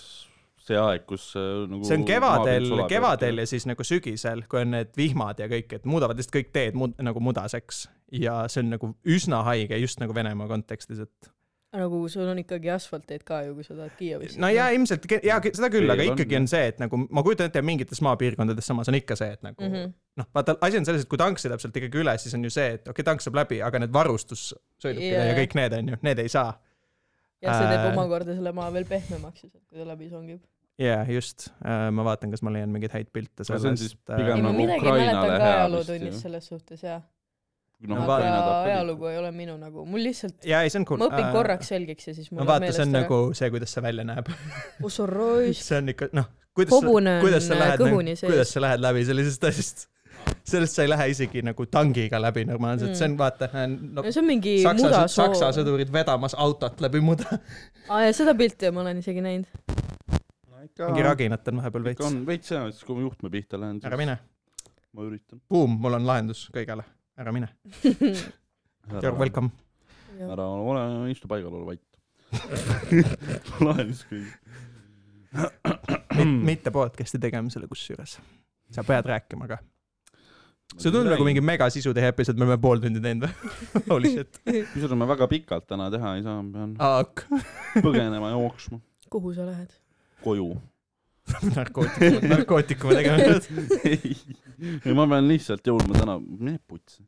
see aeg , kus äh, nagu .
see on kevadel , kevadel . ja siis nagu sügisel , kui on need vihmad ja kõik , et muudavad lihtsalt kõik teed mud, nagu mudaseks ja see on nagu üsna haige just nagu Venemaa kontekstis , et
nagu sul on ikkagi asfaltteed ka ju , kui sa tahad Kiievisse .
no ja ilmselt ke- ja ke- seda küll , aga
Veel on,
ikkagi
jah.
on see , et nagu ma kujutan ette , mingites maapiirkondades samas on ikka see , et nagu mm
Mhm.
-hmm. noh , vaata asi on selles , et kui tank sõidab sealt ikkagi üle , siis on ju see , et okei okay, , tank saab läbi , aga need varustussõidukid yeah.
Jajah.
ja kõik need on ju , need ei saa .
ja see teeb
Äh.
omakorda selle maa veel pehmemaks siis , et kui ta läbi songib .
jaa yeah, , just äh, , ma vaatan , kas ma leian mingeid häid pilte
see on siis
sellest . äh,
pigem
ei ma
nagu
midagi
Ukrainale
mäletan ka
hea
ajalootunnis
vist,
selles suhtes jaa .
No
noh ,
aga
Ukraina
ajalugu ei ole minu nagu , mul lihtsalt ,
jaa , ei see on cool .
ma õpin korraks selgeks ja siis mul
äh,
läheb
no vaata , see
meelest
on
ära .
nagu see , kuidas see välja näeb .
Osorois ,
see on ikka noh , kuidas
hobune
kuidas sa
on äh,
lähed ,
kõhuni
kuidas
sees .
sa lähed läbi sellisest asjast ? sellest sa ei lähe isegi nagu tangiga läbi normaalselt mm. , see on vaata no,
no , see on mingi
saksa , saksa
mudasoo .
sõdurid vedamas autot läbi muda .
aa ja seda pilti ma olen isegi näinud .
mingi raginat on vahepeal
ikka
veits .
on veits jah , siis kui ma juhtme pihta lähen ,
ära
siis
mine ,
ma üritan .
buum , mul on lahendus kõigele , ära mine , you are welcome .
ära ole , istu paigal , ole vait . lahendus kõik . Mm.
mitte podcast'i tegemisele kusjuures , sa pead rääkima ka . see tundub nagu mingi . mega sisutehe episood , me oleme pool tundi teinud või ? Holy shit .
kusjuures me väga pikalt täna teha ei saa , ma
Ah.
pean põgenema ja jooksma
kuhu sa lähed ?
koju .
narkootikum , narkootikume tegema .
ei , ma pean lihtsalt jõudma täna , mine putsi ,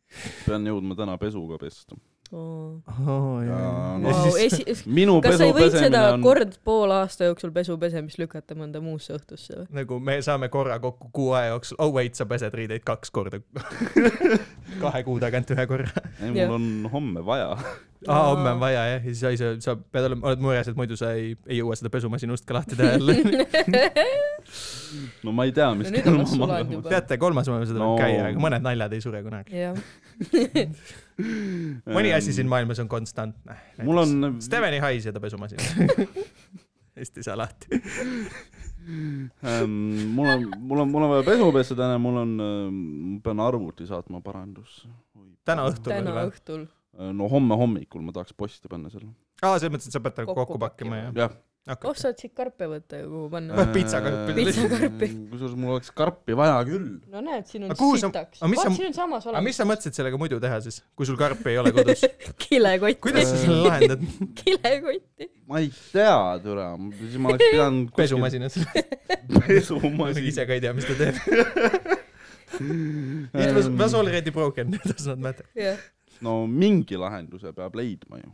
pean jõudma täna pesuga pesta .
oo jaa
Jaa, . no-
Vau , esi- ,
minu
kas sa
pesu
ei võinud seda
pesemine on ,
kord poole aasta jooksul pesu pesemist lükata mõnda muusse õhtusse või ?
nagu me saame korra kokku kuu aja jooksul , oh wait , sa pesed riideid kaks korda . kahe kuu tagant ühe korra .
ei
jah.
mul on homme vaja .
aa , homme on vaja jah , ja siis sa ei saa , sa pead olema , oled mures , et muidu sa ei , ei jõua seda pesumasinust ka lahti teha jälle .
no ma ei tea , mis
No nüüd
kell
oleks
ma
sulanud
magan .
juba.
teate , kolmas me võime seda no.
No.
käia , aga mõned naljad ei sure kunagi .
jah ,
mõni asi siin maailmas on konstantne .
mul on ,
Steveni hais ja ta pesumasin . hästi ei saa lahti .
mul on , mul on , mul on vaja pesu pesta täna , mul on , ma pean arvuti saatma parandusse .
täna õhtul veel
täna
või ?
õhtul .
no homme hommikul ma tahaks posti panna selle .
aa , selles mõttes , et sa pead ta kokku,
Kokku
kokku pakkima jah ?
jah .
oh , sa saad siit karpe võtta ju , kuhu panna .
Äh. pitsakarpi.
Pitsakarpi.
kusjuures mul oleks karpi vaja küll .
no näed , siin on
Aga kuhu sa-
sitaks .
aga mis sa-
vaat , siin on samas
aga mis
olemas
sa mõtlesid sellega muidu teha siis , kui sul karpi ei ole kodus ?
kilekott .
kuidas sa selle lahendad ?
kilekotti .
ma ei tea , türa , siis ma oleks pidanud .
pesumasinas .
pesumasin .
ise ka ei tea , mis ta teeb . It was,
Ähm.
was already broken , does not matter .
jah ,
no mingi lahenduse peab leidma ju .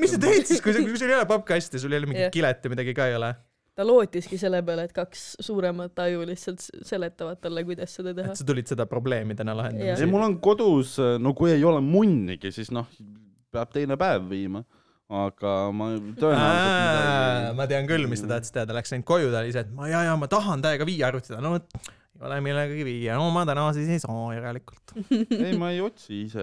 mis sa teed siis , kui sa , kui sul ei ole pappkasti , sul ei ole mingit
Jah.
kilet ja midagi ka ei ole ,
ta lootiski selle peale , et kaks suuremat aju lihtsalt s- seletavad talle , kuidas seda teha
et . sa tulid seda probleemi täna lahendama
Jah.
ei ,
siia .
mul on kodus , no kui ei ole munnigi , siis noh , peab teine päev viima , aga ma tõenäoliselt midagi .
ma tean küll , mis ta tahtis teada , läks ainult koju , ta oli ise , et ma ja , ja ma tahan täiega viie arvutada , no vot , ei ole millegagi viia , no ma täna siis ei saa järelikult .
Mm.
ei , ma ei otsi ise .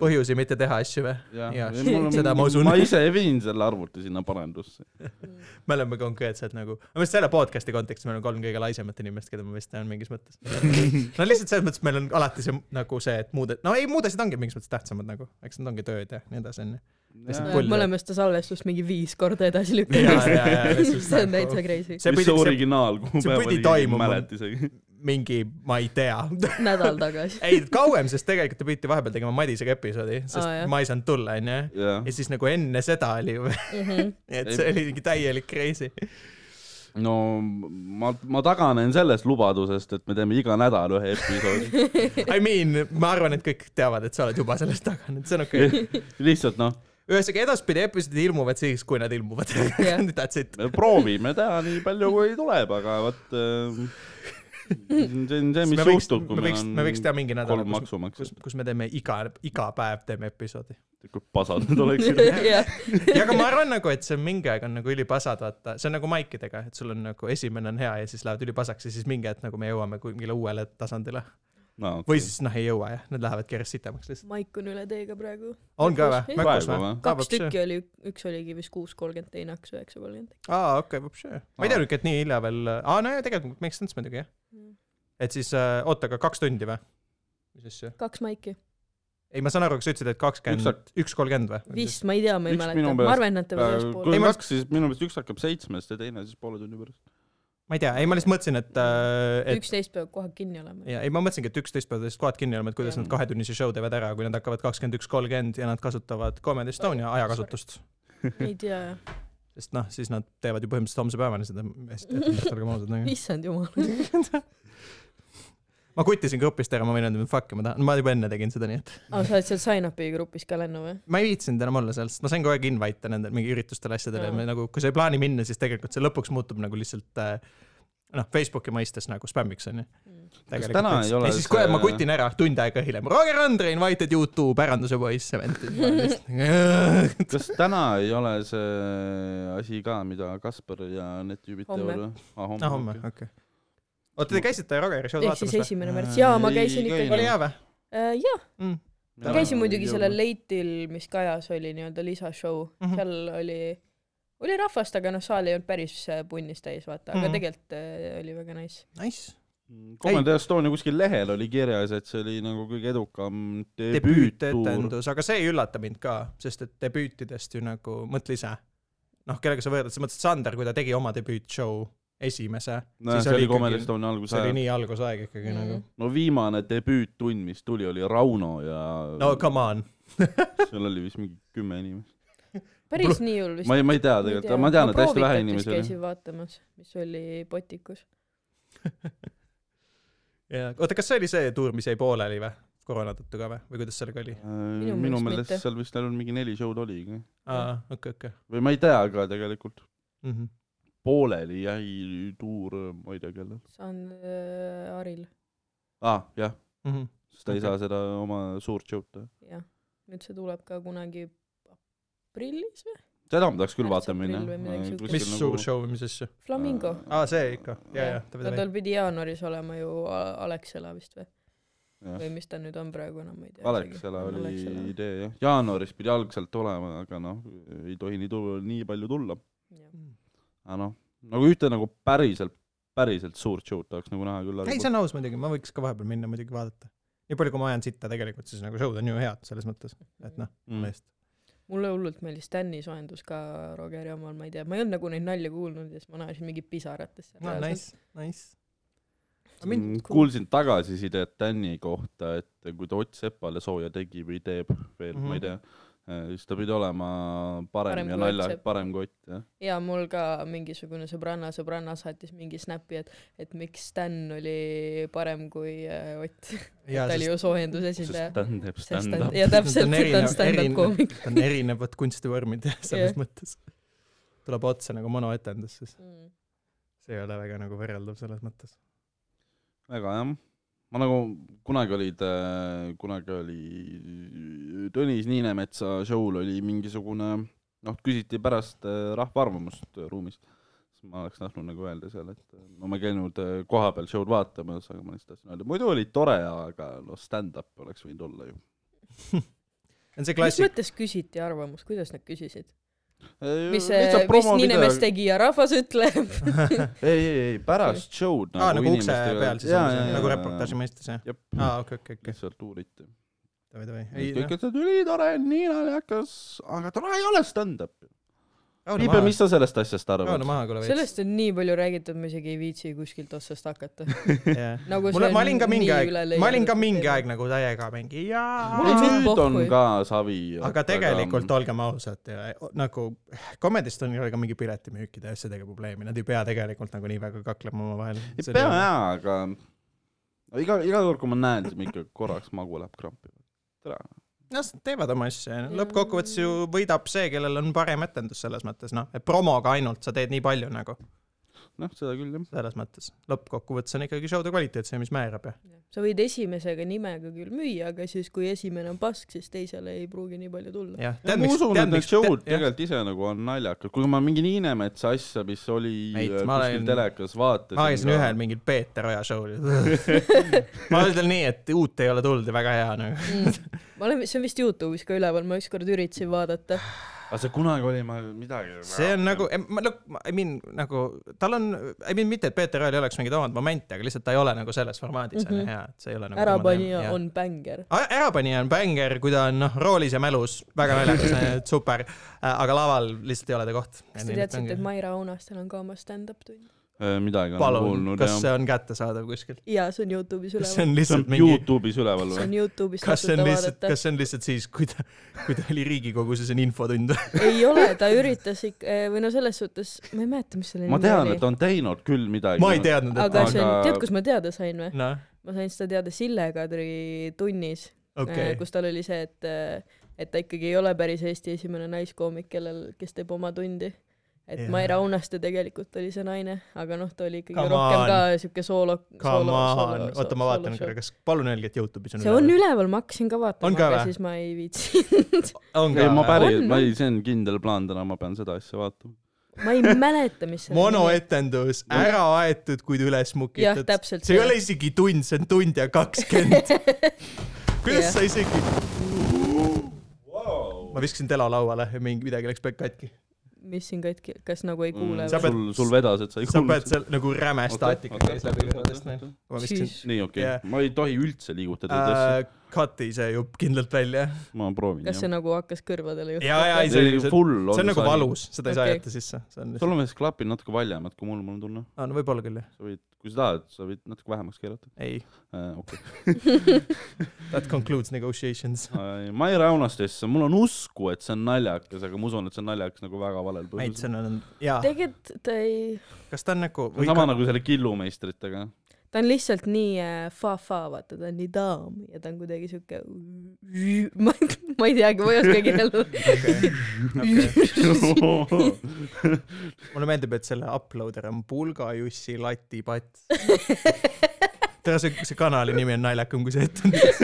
põhjusi mitte teha asju või ? Jah, seda ma usun.
ma ise viin selle arvuti sinna parandusse .
me oleme konkreetselt nagu , ma vist selle podcast'i kontekstis me oleme kolm kõige laisemat inimest , keda ma vist tean mingis mõttes . no lihtsalt selles mõttes , et meil on alati see nagu see , et muud , no ei , muud asjad ongi mingis mõttes tähtsamad nagu , eks need ongi tööd ja nii edasi onju . Lihtsalt
Nojah,
pull,
me
jah.
oleme seda salvestust mingi viis korda edasi
Jaa, jaa,
lükanud
jaa, .
see on täitsa crazy .
see
mis see
pidi ,
originaal , kuhu
see
peab
pidi toimuma.
mälet isegi .
mingi , ma ei tea .
nädal tagasi .
ei , kauem , sest tegelikult te pidite vahepeal tegema Madisega episoodi , sest
Aa,
oh,
jah.
ma ei saanud tulla , onju .
jah .
ja siis nagu enne seda oli ju ,
Mhm.
et see oli mingi täielik crazy .
no ma , ma taganen sellest lubadusest , et me teeme iga nädal ühe episoodi .
I mean , ma arvan , et kõik teavad , et sa oled juba sellest taganenud , see on okei okay. .
lihtsalt noh ,
ühesõnaga , edaspidi episoodid ilmuvad siis , kui nad ilmuvad
Jah. .
That's it .
me proovime teha nii palju , kui tuleb , aga vot äh, see on see ,
me
mis
võiks ,
juhtub , kui
me
meil
võiks ,
on
me võiks teha mingi nädal ,
kolm
kus , kus
maksumaksjat .,
kus me teeme iga , iga päev teeme episoodi .
kui pasad need oleksid .
jah ,
ja aga ma arvan nagu , et see mingi aeg on nagu ülipasad , vaata , see on nagu maikidega , et sul on nagu esimene on hea ja siis lähevad ülipasaks ja siis mingi hetk nagu me jõuame kuhugile uuele tasandile .
no
või siis noh , ei jõua jah , need lähevadki järjest sitemaks lihtsalt .
Maik on üle teega praegu .
on ka või ?
Ei.
Mökus
Praegu
või
või? ?
kaks tükki . oli , üks oligi vist kuus kolmkümmend , teine hakkas üheksa kolmkümmend .
aa , okei , vapšee . ma ei
Aa.
teadnudki , et nii hilja veel , aa nojah , tegelikult makes sense muidugi jah . et siis , oota , aga kaks tundi või ? mis asja ?
kaks Maiki .
ei , ma saan aru , kas sa ütlesid , et kakskümmend , üks kolmkümmend või ?
vist , ma ei tea , ma ei
Üks minu
mäleta . ma arvan ,
meelest-
et nad
Äh,
teevad
kui
ühespool .
Ei,
on
ma-
kaks , siis minu meelest üks hakkab seitsmest ja teine siis poole tunni pärast .
ma ei tea , ei ma lihtsalt mõtlesin , et , et
üksteist peab kohe kinni olema .
ja ei , ma mõtlesingi , et üksteist peavad lihtsalt kohad kinni olema , et kuidas
Jah.
nad kahetunnise show teevad ära , kui nad hakkavad kakskümmend üks kolmkümmend ja nad kasutavad Comedy Estonia ajakasutust .
ei tea ,
sest noh , siis nad teevad ju põhimõtteliselt homse päevani seda , olgem ausad nagu. .
issand jumal .
ma kuttisin grupist ära , ma võin öelda , et fuck , ma tahan , ma juba enne tegin seda , nii et
aa , Ah, sa oled seal sign-up'i grupis ka lennu või ?
ma ei viitsinud enam olla seal , sest ma sain kogu aeg invite nendele mingi üritustele , asjadele ja
Aa.
me nagu , kui sa ei plaani minna , siis tegelikult see lõpuks muutub nagu lihtsalt äh, noh , Facebooki mõistes nagu spämmiks onju .
Mm.
täna ei ole
ja siis kohe
see-
ma kutin ära tund aega hiljem , Roger Andre invited you to päranduse poiss event'i .
kas täna ei ole see asi ka , mida Kaspar ja need tüübid
Homme.
teevad või ? ah , homme,
ah homme , okei . oota , te käisite Rogeri show'd
ehk siis
vaatamas või ?
esimene
Aa,
märts . jaa , ma
ei
käisin
käinud.
ikkagi .
oli hea või
jah ,
mm. ?
ma käisin muidugi sellel . leitil , mis Kajas oli nii-öelda lisashow
Mhm.
mm , -hmm. seal oli , oli rahvast , aga noh , saal ei olnud päris äh, punnis täis , vaata , aga
Mhm.
mm -hmm. tegelikult äh, oli väga nice .
Nice .
Comedy Mm, Estonia kuskil lehel oli kirjas , et see oli nagu kõige edukam debüüttuur .
debüütetendus , aga see ei üllata mind ka , sest et debüütidest ju nagu mõtle ise . noh , kellega sa võrdled , sa mõtled Sander , kui ta tegi oma debüütshow esimese ,
nojah ,
Siis
see
oli
oli Comedy
ikkagi-
Estonia
see oli
algusaeg .
nii algusaeg ikkagi mm.
Mhm.
nagu .
no viimane debüüttund , mis tuli , oli Rauno ja
no come on .
seal oli vist mingi kümme inimest .
päris nii hull vist
ma . ei , ma ei tea tegelikult , ma tean , et hästi vähe inimesi oli .
käisin vaatamas , mis oli Botikus .
oota , kas see oli see tuur , mis jäi pooleli või ? koroona tõttu ka või , või kuidas sellega oli ?
Minu
Äh, minu
meelest
meelest
mitte.
seal vist ainult mingi neli show'd oligi .
aa , okei , okei .
või ma ei tea ka tegelikult .
Mhm,
pooleli jäi tuur , ma ei tea kellel .
saan äh, Aril ,
aa ah, , jah ,
mhm.
sest ta
Okei.
okay. ei saa seda oma suurt show'd teha .
jah . nüüd see tuleb ka kunagi aprillis või ?
seda ma tahaks küll
Märts,
vaatama minna nagu
aprill või midagi . siukest.
mis suur show või mis asja ?
Flamingo .
nagu aa , see ikka , ja , ja ,
no
ta pidi .
tal pidi jaanuaris olema ju A- Alexela vist või ?
jah ,
või mis ta nüüd on praegu , enam ma ei tea .
Alexela oli . idee jah , jaanuaris pidi algselt olema , aga noh , ei tohi nii tulla , nii palju tulla . aga noh , nagu ühte nagu päriselt , päriselt suurt show'd tahaks nagu näha küll .
ei , see on aus muidugi , ma võiks ka vahepeal minna muidugi vaadata . nii palju , kui ma ajan sitta tegelikult , siis nagu show'd on ju head selles mõttes , et noh , mu
Mm.
eest .
mulle hullult meeldis Stani soojendus ka Rogeri omal , ma ei tea , ma ei olnud nagu neid nalju kuulnud ja siis ma naersin mingi pisaratesse .
no nice , nice .
Mm, kuulsin tagasisidet Tänni kohta , et kui ta Ott Sepale sooja tegi või teeb veel mm , -hmm. ma ei
Mhm.
tea , siis ta pidi olema
Parem
parem, parem ja
kui Ott
nalja
Sepp. ,
parem kui Ott , jah .
ja mul ka mingisugune sõbranna sõbranna saatis mingi snappi , et , et miks Stan oli parem kui äh, Ott ,
ja
ta oli
sest
ju soojenduse
sest
esindaja .
Tän teeb
sest ta ,
stand-up'i .
ja
Ta on
täpselt , ta
erinev-
on stand-up
erinev-
koomik .
on erinevad kunstivormid ja selles
Jah.
mõttes . tuleb otse nagu monoetendus , siis
Mm.
see ei ole väga nagu võrreldav selles mõttes .
väga jah . ma nagu , kunagi olid , kunagi oli äh, Tõnis Niinemetsa show'l oli mingisugune , noh , küsiti pärast äh, rahva arvamust äh, ruumis . siis ma oleks tahtnud nagu öelda seal , et äh, no ma ei käinud äh, kohapeal show'd vaatamas , aga ma lihtsalt tahtsin öelda , muidu oli tore , aga noh , stand-up oleks võinud olla ju .
see on see
mis
klassik ,
mõttes küsiti arvamust , kuidas nad küsisid ?
Äh,
mis , mis Niinemees
ei ,
tegi ja rahvas ütleb .
ei , ei pärast show'd
aa nagu ukse peal siis , nagu reportaaži . mõistes jah ?
jah ,
aa , okei , okei , okei ,
lihtsalt uuriti .
davai , davai .
kõik ütlesid , ülitore , nii naljakas , aga tore ei ole stand-up . Piibe , mis sa sellest asjast arvad
raune ? maha , kuule veits .
sellest on nii palju räägitud , ma isegi ei viitsi kuskilt otsast hakata . nagu
mul , ma olin ka mingi aeg , ma olin ka mingi aeg . nagu täiega mingi
Mul on
jaa .
nüüd
nüüd on
pohhui.
ka savi .
aga tegelikult olgem ausad , nagu Comedy-Estonial ei ole ka mingi piletimüükide ja asjadega probleemi , nad ei pea tegelikult nagu nii väga kaklema omavahel .
ei pea jaa , aga iga , iga kord , kui ma näen , siis ma ikka korraks magu läheb krampi . tere .
noh , teevad oma asja ,
Jaa.
lõppkokkuvõttes ju võidab see , kellel on parem etendus selles mõttes , noh , et promoga ainult sa teed nii palju nagu
noh , seda küll jah .
selles mõttes , lõppkokkuvõttes on ikkagi show'de kvaliteet see , mis määrab ja .
sa võid esimesega nimega küll müüa , aga siis , kui esimene on pask , siis teisele ei pruugi nii palju tulla .
jah ,
Ja ma usun , et need show'd tegelikult ise nagu on naljakad , kui ma mingi Niinemetsa asja , mis oli
Meit,
äh,
ma
kuskil
olen-
telekas , vaatasin .
ma käisin ühel . mingil Peeter Oja show'l . ma ütlen nii , et uut ei ole tulnud ja väga hea nagu .
Mm. ma olen , see on vist Youtube'is ka üleval , ma ükskord üritasin vaadata .
Ah,
aga see kunagi oli ma midagi .
see on nagu , ma noh , I mean nagu tal on , I mean mitte , et Peeter Ojal ei oleks mingeid omad momente , aga lihtsalt ta ei ole nagu selles formaadis on ju
Mhm.
hea , et see ei ole nagu .
ärapanija . on bängar .
ärapanija on bängar , kui ta on noh , roolis ja mälus , väga naljakas , super , aga laval lihtsalt ei ole ta koht .
kas te teadsite , et Maire Aunastel on ka oma stand-up tund ?
Äh, midagi olen
palun ,
kuulnud
kas
jah .
see on kättesaadav kuskil ?
jaa , see on Youtube'is
kas
üleval .
see on
see on
lihtsalt mingi ,
Youtube'is üleval
see
või ?
on Youtube'is ,
kas see
tasuta
on lihtsalt ,
vaadata .
kas see on lihtsalt siis , kui ta , kui ta oli Riigikogus ja see on infotund ?
ei ole , ta üritas ikka , või no selles suhtes , ma ei mäleta , mis selle
ma
nimi
tean ,
oli
et . ta on teinud küll midagi .
ma ei . teadnud , et
aga see on
Aga- ,
tead , kus ma teada sain või ?
noh ,
ma sain seda teada Sille Kadri tunnis
okei
äh, , kus tal oli see , et äh, et ta ikkagi ei ole päris Eesti esimene naiskoomik , kellel , kes teeb oma tundi . et
Jaa.
Maire Aunaste tegelikult oli see naine , aga noh , ta oli ikkagi
Come
Come rohkem
on.
on. ka siuke soolo ,
come
soolo ,
on , oota ma vaatan korra ,. kas , palun öelge , et Youtube'is on
see on üleval , ma hakkasin ka
On
vaatama ,
ka
aga
vä?
siis ma ei viitsinud .
on
ei , ma
päris .
päris
On, ,
ma
on.
ei , see on kindel plaan täna , ma pean seda asja vaatama .
ma ei mäleta , mis see
monoetendus , ära aetud , kuid üles
jah ,
mukitud .
täpselt
see ei ole isegi tund , see on tund ja kakskümmend . kuidas
Jah.
sa isegi ? ma viskasin telo lauale ja mingi midagi läks pekk katki .
mis siin katki , kas nagu ei kuule
e- Mm, Sa
või ?
pead-
sul , sul vedas , et sa ei
sa pead
kuulnud .
seal nagu räme staatika käis läbi kõrvadest neil . ma viskasin .
Siis-
nii , okei
Jah.
okay. , ma ei tohi üldse liigutada uh, ,
Äh, Cut'i see jupp kindlalt välja .
ma proovin .
kas see nagu hakkas kõrvadele
ja , ja ei ,
juhtuma ?
see oli , see
full on
on nagu . valus , seda ei saa
Okei.
jätta sisse . see on ,
sul on vist klapid natuke valjemad kui mul , mul on tunne .
on võib-olla küll jah ,
sa võid , kui sa tahad , sa võid natuke vähemaks keerata
ei .
äh, . okei okay. ,
That concludes negotiations .
ma ei raunastesse , mul on usku , et see on naljakas , aga ma usun , et see on naljakas nagu väga valel
Mait , see
põhjusel .
on , jaa ,
tegelikult ta ei ,
kas ta on nagu või
sama ka... nagu selle killumeistritega .
ta on lihtsalt nii äh, fa-fa , vaata , ta on nii daam ja ta on kuidagi siuke . ma , ma ei teagi , ma ei oska kirjeldada .
mulle meeldib , et selle uploader on Pulga Jussi latipats . tere , see , see kanali nimi on naljakam kui see etendus .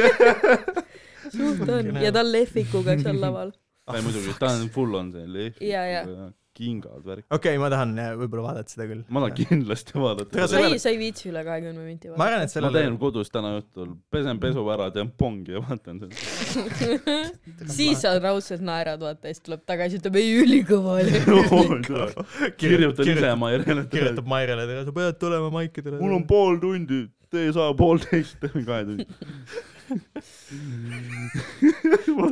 suht on ja ta on lehvikuga seal laval .
ei muidugi , ta on full on see lehv
Jaa, jaa. .
kingad värk .
okei okay, , ma tahan äh, võib-olla vaadata seda küll .
ma tahan kindlasti vaadata
Tere,
sa
see-
seda .
ei , sa ei viitsi üle kahekümne minuti
ma arvan , et
ma
sellele
teen kodus täna õhtul , pesen pesu ära , teen pongi ja vaatan seda .
vaadata . siis sa raudselt naerad , vaata ja siis tuleb tagasi , ütleb ei , ülikõva oli .
Oh kirjutan ise
kirjutab,
Mairele .
kirjutab Mairele , tere , sa pead tulema maikidele .
mul on pool tundi , te ei saa poolteist , teeme kahe tundi .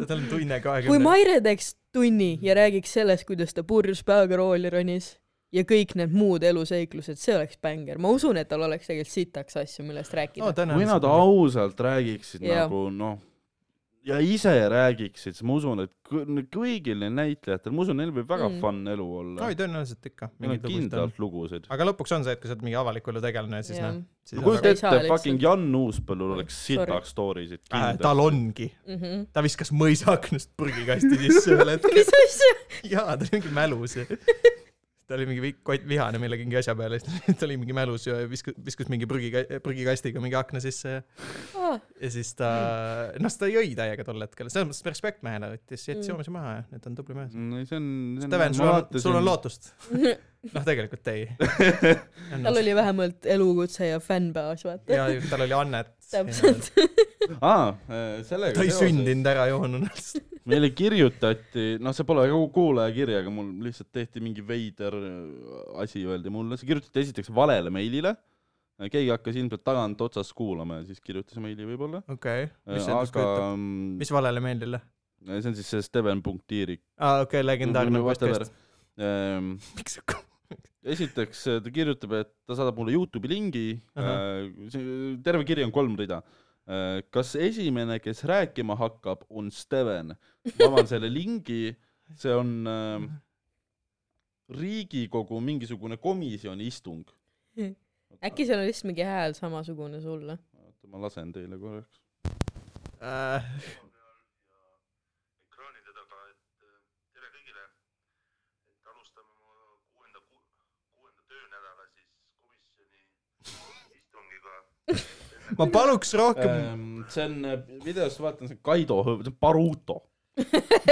tal on tunne
kui
kahekümne .
Maire teeks tunni ja räägiks sellest , kuidas ta purjus peaga rooli ronis ja kõik need muud eluseiklused , see oleks bänger . ma usun , et tal oleks tegelikult sitaks asju , millest rääkida
no .
kui nad
tõenäoliselt .
ausalt räägiksid
Jaa.
nagu noh , ja ise räägiksid , siis ma usun , et kõ- kõigil neil näitlejatel , ma usun , neil võib väga
Mm.
fun elu olla
oi ,. tõenäoliselt ikka .
Neil on kindlalt lugusid .
aga lõpuks on see , et kui sa oled mingi avaliku elu tegelane , siis
Jah.
noh .
no kujuta
ei saa
ette ,
lihtsalt.
fucking Jan Uuspõllul oleks
Sorry.
sitaks story sid
Äh, Ah, tal
kindlasti .
ongi ,
mm . -hmm.
ta viskas mõisaaknast prügikasti sisse ühel hetkel .
mis asja ?
jaa , ta oli mingi mälus . ta oli mingi vi- kott vihane millegagi asja peale , siis ta oli mingi mälus ja viskas , viskas mingi prügi , prügikastiga mingi akna sisse ja ,
aa ,
ja siis ta ,
Hmm.
noh , seda jõi täiega tol hetkel , selles mõttes respekt mehele võttis , jättis
Mm.
joomise maha ja nüüd ta on tubli mees .
Mm, see on . nagu
Steven , sul on , sul on . lootust . noh , tegelikult ei .
tal oli vähemalt elukutse ja fännbaas , vaata .
ja tal oli annet .
täpselt .
aa , sellega .
ta ei sündinud ära joonunult .
meile kirjutati , noh , see pole nagu kuulajakiri , aga mul lihtsalt tehti mingi veider äh, asi , öeldi mulle , see kirjutati esiteks valele meilile , keegi hakkas ilmselt tagantotsast kuulama ja siis kirjutas meili võib-olla ,
okei okay. , mis see endast
aga
kujutab ?
mm,
mis valele meeldile ?
see on siis see Steven Punktiirik .
Mm-hmm, aa , okei , legendaarne Ah, podcast .
ähm,
miks
esiteks äh, ta kirjutab , et ta saadab mulle Youtube'i lingi Eh,
Ahah. ,
terve kiri on kolm rida . kas esimene , kes rääkima hakkab , on Steven ? ma avan selle lingi , see on äh, riigikogu mingisugune komisjoni istung .
äkki seal on lihtsalt mingi hääl samasugune sulle ?
oota , ma lasen teile korraks .
äh, ?
ekraanide taga , et äh, tere kõigile . et alustame oma kuuenda , kuuenda töönädala siis komisjoni istungiga .
ma paluks rohkem
see on , videost vaatan , see on Kaido , see on Baruto .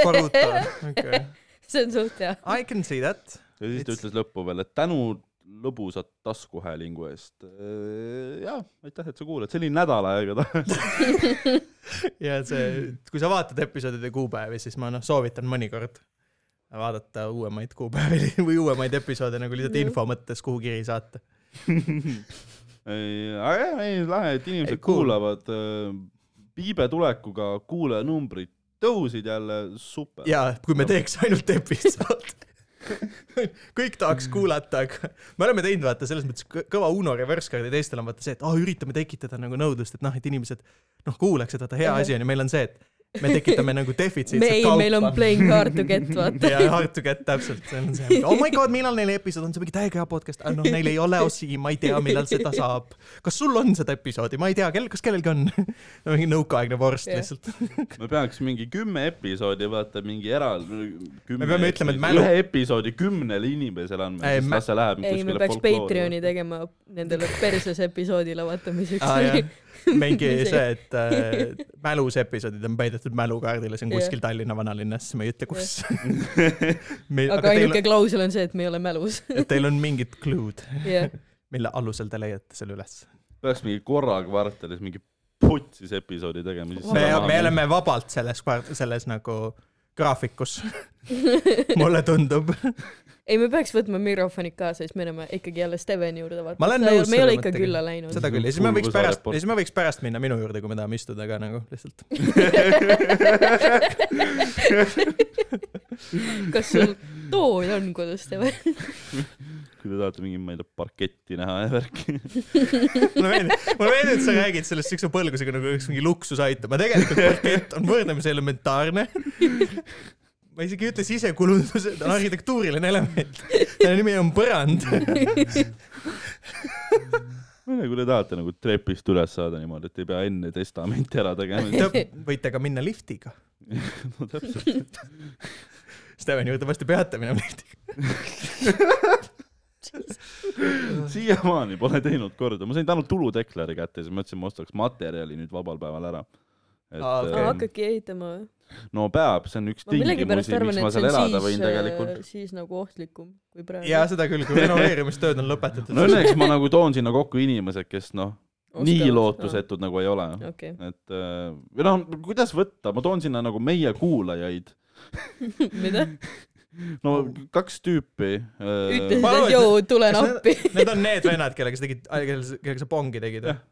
paruta . okei ,
see on suht hea .
I can see that .
ja siis ta
It's-
ütles lõppu veel , et tänu lõbusa taskuhäälingu eest . jaa , aitäh , et sa kuulad , see oli nädal aega tagasi .
ja see , kui sa vaatad episoodide kuupäevi , siis ma noh , soovitan mõnikord vaadata uuemaid kuupäevi või uuemaid episoode nagu lihtsalt
Jah.
info mõttes , kuhu kiri saata .
aga jah , ei lahe , et inimesed
Ei,
ei,
cool.
kuulavad . piibe tulekuga kuulajanumbrid tõusid jälle , super .
ja kui me teeks ainult episood . kõik tahaks kuulata , aga me oleme teinud vaata selles mõttes kõ- kõva Uno reverse card'i teistel on vaata see , et oh, üritame tekitada nagu nõudlust , et noh , et inimesed noh , kuuleks , et vaata hea asi on ju , meil on see , et me tekitame nagu defitsiitset
meil ,
kaupa .
meil on playing hard to get ,
ja
vaata .
hard to get täpselt , see on see , oh my god , millal neil episood on , see on mingi täiega hea podcast , aga noh , neil ei ole osi , ma ei tea , millal seda saab . kas sul on seda episoodi , ma ei tea , kell , kas kellelgi on ? mingi nõukaaegne vorst
Jah.
lihtsalt .
me peaks mingi kümme episoodi , vaata mingi eraldi .
Me peame ütlema, et mälu-
ühe episoodi kümnele inimesele andma ,
Ei,
siis
mä-
las see läheb
ei , me peaks Patreon'i . tegema nendele perses episoodi lavatamiseks
Aa, jah. . mingi
See-
see , et äh, mälus episoodid on peidetud mälukaardile , see on
Jah.
kuskil Tallinna vanalinnas , me ei ütle , kus .
aga
aga teil
ainuke , klausel on see , et me ei ole mälus .
teil on mingid clue'd ,
jah ,
mille alusel te leiate selle üles .
peaks mingi korra kvartalis mingi putsis episoodi tegema .
me , me oleme vabalt selles , selles nagu graafikus , mulle tundub .
ei , me peaks võtma mikrofonid kaasa , siis me oleme ikkagi jälle Steveni juurde , vaata .
Ma olen nõus
me ei ole
selle
ikka
mõttega.
külla läinud .
seda küll , ja siis me võiks
Pulgusa
pärast ,
report-
ja siis me võiks pärast minna minu juurde , kui me tahame istuda ka nagu lihtsalt .
kas sul tool on kodus , Steven ?
kui te tahate mingi , ma ei tea , parketti näha ja värki .
mulle meeldib , mulle meeldib , et sa räägid sellest siukse põlgusega nagu oleks mingi luksusaitab , aga tegelikult parkett on võrdlemisi elementaarne . ma isegi ei ütle sisekulundus , ta on arhitektuuriline element . selle nimi on põrand .
ma ei tea , kui te tahate nagu trepist üles saada niimoodi , et ei pea enne testamenti ära tegema .
võite ka minna liftiga .
no täpselt .
Steven juurde varsti peate minema liftiga .
siiamaani pole teinud korda , ma sain tänu tuludekleri kätte , siis mõtlesin , ma ostaks materjali nüüd vabal päeval ära .
Aa,
et
okei.
aa ,
okay.
hakkabki ehitama või ?
no peab , see on üks
ma millegipärast
Äh, tingimusi ,
arvan ,
miks ma
et
seal
see
elada
on
võin
siis äh,
tegelikult .,
siis nagu ohtlikum kui praegu .
ja seda küll , kui renoveerimistööd on lõpetatud
no . õnneks ma nagu toon sinna kokku inimesed , kes noh , nii . lootusetud nagu ei ole .
okei ,
et äh, või noh , kuidas võtta , ma toon sinna nagu meie kuulajaid ,
mida ?
Äh, no kaks tüüpi . eh,
ütlesid ,
Ma arvan,
et
et
joo , tulen
kas
appi .
Need on need vennad , kellega sa tegid , kellega sa pongi tegid või
Jah. ?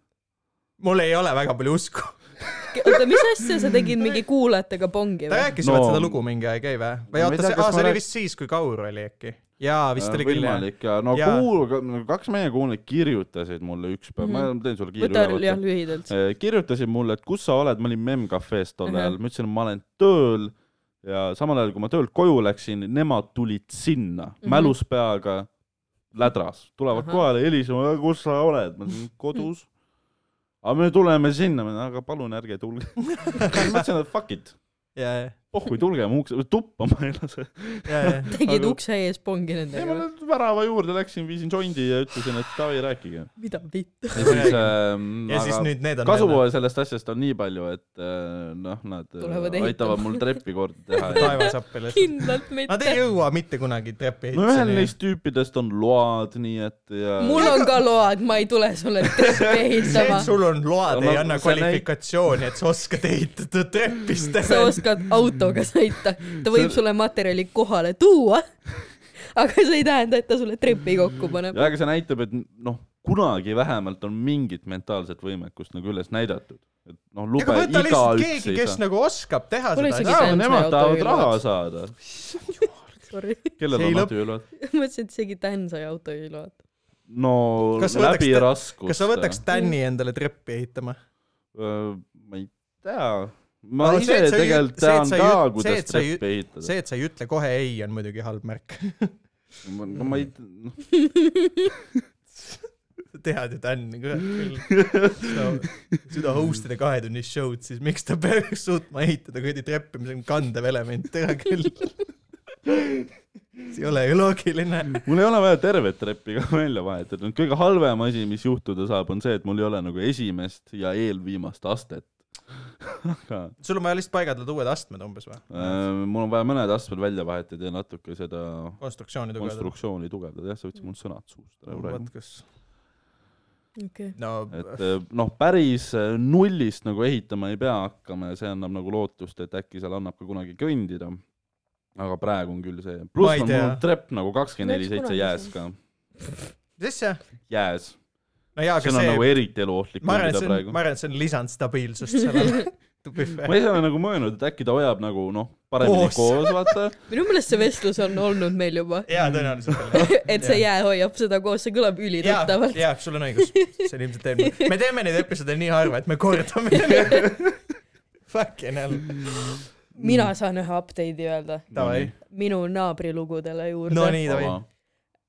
mul ei ole väga palju usku .
oota , mis asja sa tegid mingi kuulajatega pongi
ta
või ?
rääkis
No-
no. seda lugu mingi aeg , ei vä ? või
Ma ei
oota ,
tea,
see ,
kas
aa ,
ma
see oli
rääk-
vist siis , kui Kaur oli äkki . jaa , vist oli küll jah .
võimalik ja no
Jaa.
kuul- , kaks meie kuulajat kirjutasid mulle üks päev , ma teen sulle kiire
Mhm. võta jah ,
ülevaate .
lühidalt .
Äh, kirjutasid mulle , et kus sa oled , ma olin Memcafe's tol
Mhm.
ajal , ma ütlesin , et ma olen tööl ja samal ajal , kui ma töölt koju läksin , nemad tulid sinna
Mhm.
mälus peaga lädras , tulevad
Ahah.
kohale , helistavad , kus sa oled , ma ütlesin kodus . aga me tuleme sinna , ma ütlen , aga palun ärge tulge . ma ütlesin , et fuck it ,
ja , ja ,
Oh.
pohhui tulge mu ukse , tuppa ma ei lase .
ja , ja .
tegid
Aga-
ukse ees pongi
ei , ma
nendega või ?
nüüd värava juurde läksin , viisin sondi ja ütlesin , et davai , rääkige .
mida vittu ?
ja siis
Ja
ähm,
ja siis
aga
nüüd need on .
kasu . sellest asjast on nii palju , et äh, noh , nad äh,
Tulevad
aitavad
ehitama.
mul treppi korda teha .
taevas appi lihtsalt .
kindlalt
Nad ei
mitte .
jõua mitte kunagi trepi
no ühel neist tüüpidest on load , nii et ja
mul on ka load , ma ei tule sulle treppi
see , et
ehitama .
sul on load , ei
No
anna
see näit-
kvalifikatsiooni , et sa oskad ehitada trepist .
sa oskad autoga sõita , ta võib sulle materjali kohale tuua , aga see ei tähenda , et ta sulle trepi kokku paneb .
ja aga see näitab , et noh , kunagi vähemalt on mingit mentaalset võimekust nagu üles näidatud . et noh , lube
aga võta lihtsalt
igaüks
keegi ,
ei
kes
saa .
nagu oskab teha
Mul
seda
isegi
asja .
jaa ,
Bentley
nemad
auto
tahavad
küll
raha
oleks.
saada .
Sorry .
kellel
See ei
on
lõp-
adüüload ?
mõtlesin , et isegi Dan sai autojuhiload .
no
Kas sa
läbi
võtaks-
raskust .
kas sa võtaks Tänni endale treppi ehitama ?
Äh, ma ei tea . ma ise tegelikult tean ka , kuidas treppi ehitada .
see , et sa ei ütle kohe ei , on muidugi halb märk .
no ma ei , noh ,
tead ju Tänni , kurat küll . seda host ida kahetunnist show'd , siis miks ta peaks suutma ehitada kuradi treppi , mis on kandev element , tere küll . see ei ole ju loogiline .
mul ei ole vaja tervet treppi ka välja vahetada , kõige halvem asi , mis juhtuda saab , on see , et mul ei ole nagu esimest ja eelviimast astet . aga
sul on vaja lihtsalt paigaldada uued astmed umbes või ?
äh, mul on vaja mõned astmed välja vahetada ja natuke seda
konstruktsiooni tugevdada .
konstruktsiooni tugevdada , jah , sa võtsid mul sõnad suust ära praegu
vot . kus .
okei okay. .
no
et äh, noh , päris äh, nullist nagu ehitama ei pea hakkama ja see annab nagu lootust , et äkki seal annab ka kunagi kõndida . aga praegu on küll see ,
Ma
pluss
ei
on
tea.
mul trepp nagu kakskümmend neli
Peaks kunagi
seitse jääs ka ,
mis asja ?
jääs .
no jaa , aga
see on
see
nagu , eriti eluohtlik
ma arvan , et
kõndida
see on ,
praegu .
ma arvan , et see on lisanud stabiilsust sellele .
ma ise olen nagu mõelnud , et äkki ta hoiab nagu noh , paremini
Koos.
koos , vaata .
minu meelest see vestlus on olnud meil juba .
jaa , tõenäoliselt .
et see jää hoiab seda koos , see kõlab ülituttavalt .
jaa , sul on õigus , see on ilmselt eelmine . me teeme neid episoode nii harva , et me kordame . Fucking hell ,
mina
Mm.
saan ühe update'i öelda
davai .
minu naabrilugudele juurde
no nii , davai .
jah ,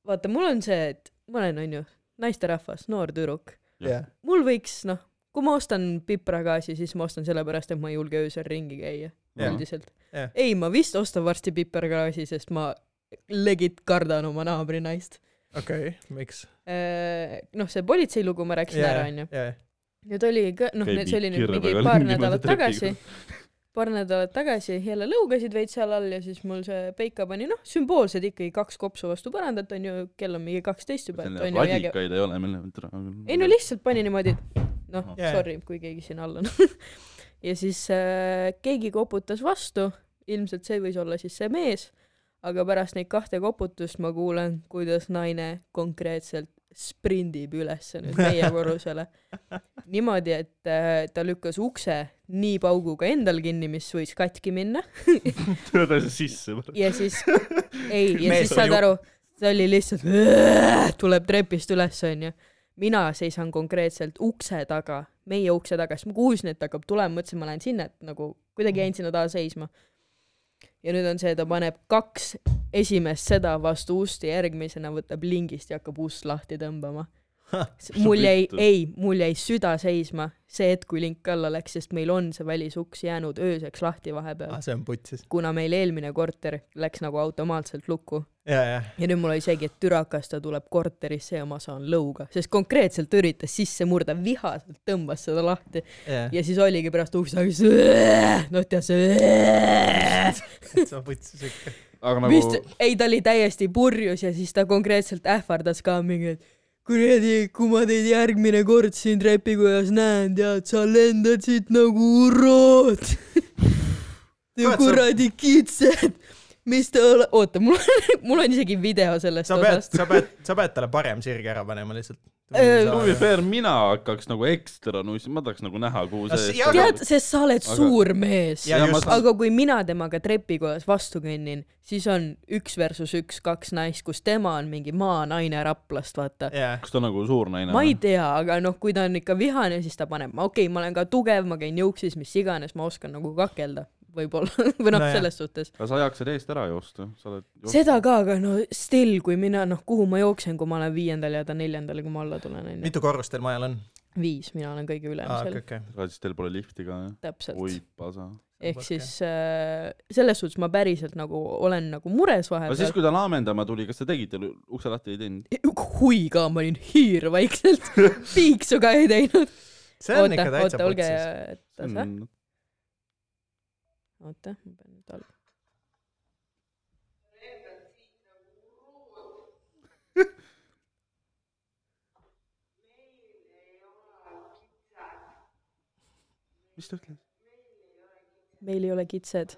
vaata , mul on see , et ma olen , onju , naisterahvas , noor tüdruk .
jah ,
mul võiks , noh , kui ma ostan pipragaasi , siis ma ostan sellepärast , et ma ei julge öösel ringi käia
Jah.
üldiselt
Jah. .
ei , ma vist ostan varsti pipragaasi , sest ma legit kardan oma naabrinaist .
okei , miks ?
noh , see politseilugu ma rääkisin ära , onju .
jaa ,
nüüd oli , noh ,
Käib
see oli
nii
nüüd
kirvega
mingi paar
ringi mööda
nädalat
trepiga.
tagasi , paar nädalat tagasi jälle lõugasid veits seal all ja siis mul see Peika pani , noh , sümboolselt ikkagi kaks kopsu vastu põrandat , onju , kell on mingi kaksteist juba ,
nagu
et onju , äge .
radikaid ei ole , mille võtta .
ei no lihtsalt pani niimoodi , noh
Jaa.
yeah. , sorry , kui keegi siin all on . ja siis äh, keegi koputas vastu , ilmselt see võis olla siis see mees , aga pärast neid kahte koputust ma kuulen , kuidas naine konkreetselt sprindib üles nüüd meie korrusele . niimoodi , et äh, ta lükkas ukse nii pauguga endal kinni , mis võis katki minna
tõda sisse .
ja siis , ei , ja
Mees
siis
oli
saad
ju-
aru , see oli lihtsalt , tuleb trepist üles , onju . mina seisan konkreetselt ukse taga , meie ukse taga , siis ma kuulsin , et hakkab tulema , mõtlesin , ma lähen sinna , et nagu kuidagi jäin sinna taha seisma . ja nüüd on see , ta paneb kaks esimest seda vastu ust ja järgmisena võtab lingist ja hakkab ust lahti tõmbama . mul jäi ,
vittu?
ei , mul jäi süda seisma see hetk , kui link alla läks , sest meil on see välisuks jäänud ööseks lahti vahepeal
aa , Ah, see on putsis .
kuna meil eelmine korter läks nagu automaatselt lukku
jaa , jaa .
ja nüüd mul oli isegi , et türakas ta tuleb korterisse ja ma saan lõuga , sest konkreetselt ta üritas sisse murda , vihaselt tõmbas seda lahti
jaa ,
ja siis oligi pärast ukse taga siis noh , tead see
see on putsis ikka .
aga
mis
nagu ,
ei ta oli täiesti purjus ja siis ta konkreetselt ähvardas ka mingi , et kuradi , kui ma teid järgmine kord siin trepikojas näen , tead , sa lendad siit nagu urod . Te
Kurat, sa-
kuradi kitsed , mis te ole- , oota , mul on , mul on isegi video sellest
sa pead ,
osast .
sa pead , sa pead talle parem sirge ära panema lihtsalt .
Äh,
to be fair , mina hakkaks nagu ekstra nussima , ma tahaks nagu näha , kuhu
No see-
see .
jaa, aga-
tead , sest sa oled
Aga-
suur mees
ja
Ja ma
just ,
saan-
aga kui mina temaga trepikojas vastu kõnnin , siis on üks versus üks , kaks naist , kus tema on mingi maanaine Raplast , vaata .
jaa ,
kas ta on nagu suur naine ?
ma ei tea , aga noh , kui ta on ikka vihane , siis ta paneb , okei okay, , ma olen ka tugev , ma käin juuksis , mis iganes , ma oskan nagu kakelda võib-olla või noh
Nojah. ,
selles suhtes .
aga sa ei jaksa eest ära joosta , sa oled .
seda ka , aga no still , kui mina noh , kuhu ma jooksen , kui ma olen viiendal ja ta neljandal , kui ma alla tulen , onju .
mitu korrust teil majal on ?
viis , mina olen kõige
aa ,
ülemisel
okei ,
okay. ,
okei .
aga siis teil pole lifti ka jah ? oi
täpselt .
pasa .
ehk
okei.
siis äh, selles suhtes ma päriselt nagu olen nagu mures
aga siis ,
vahepeal .
kui ta laamendama tuli , kas te tegite lu- ukse lahti ei teinud ?
hui ka , ma olin hiir vaikselt , piiksu ka ei teinud .
see on
oota
ikka , täitsa
oota , olge
putsis .
tasa .
Mm,
Mm.
oota , ma pean nüüd alla .
mis ta ütles ?
meil ei ole kitsed .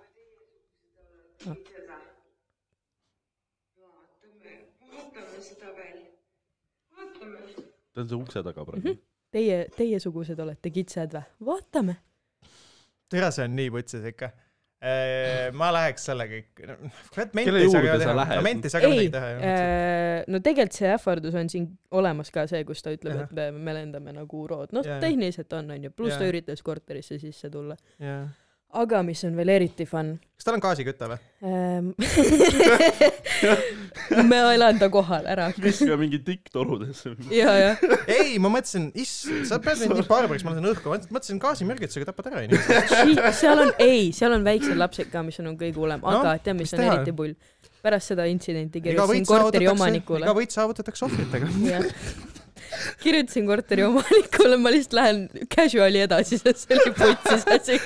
vaatame seda veel . vaatame .
ta on seal ukse taga
Mhm.
praegu .
Teie , teiesugused olete kitsed või ? vaatame .
tere , see on nii putsis ikka . ma läheks sellega ikka , kurat ment
Kelle
ei saa
juurde
ka
sa
teha ,
lähed?
no ment ei saa ka
ei äh,
midagi , teha ju .
no tegelikult see ähvardus on siin olemas ka see , kus ta ütleb ,
Jah.
et me , me lendame nagu urood , noh
Jah, jah.
tehniliselt on , onju , pluss ta
Jah.
üritas korterisse sisse tulla .
Jah.
aga mis on veel eriti fun ,
kas tal on gaasiküte või ?
ma elan ta kohal ära .
viskame mingi tikk torudesse .
ja , jah ,
ei , ma mõtlesin , issand , sa pead mind nii barbariks , ma lasen õhku , ma mõtlesin gaasimürgitusega tapad ära inimesi .
seal on , ei , seal on väiksed lapsed ka , mis on kõige hullem ,
Noh,
aga tead , mis
mis
on
teha?
eriti pull ? pärast seda intsidenti
iga
kirjutasin
võit
korteri
saavutatakse ,
omanikule
iga . võit saavutatakse ohvritega .
Jah. kirjutasin korteri omanikule , ma lihtsalt lähen casual'i edasi , sest see oli putsis asi .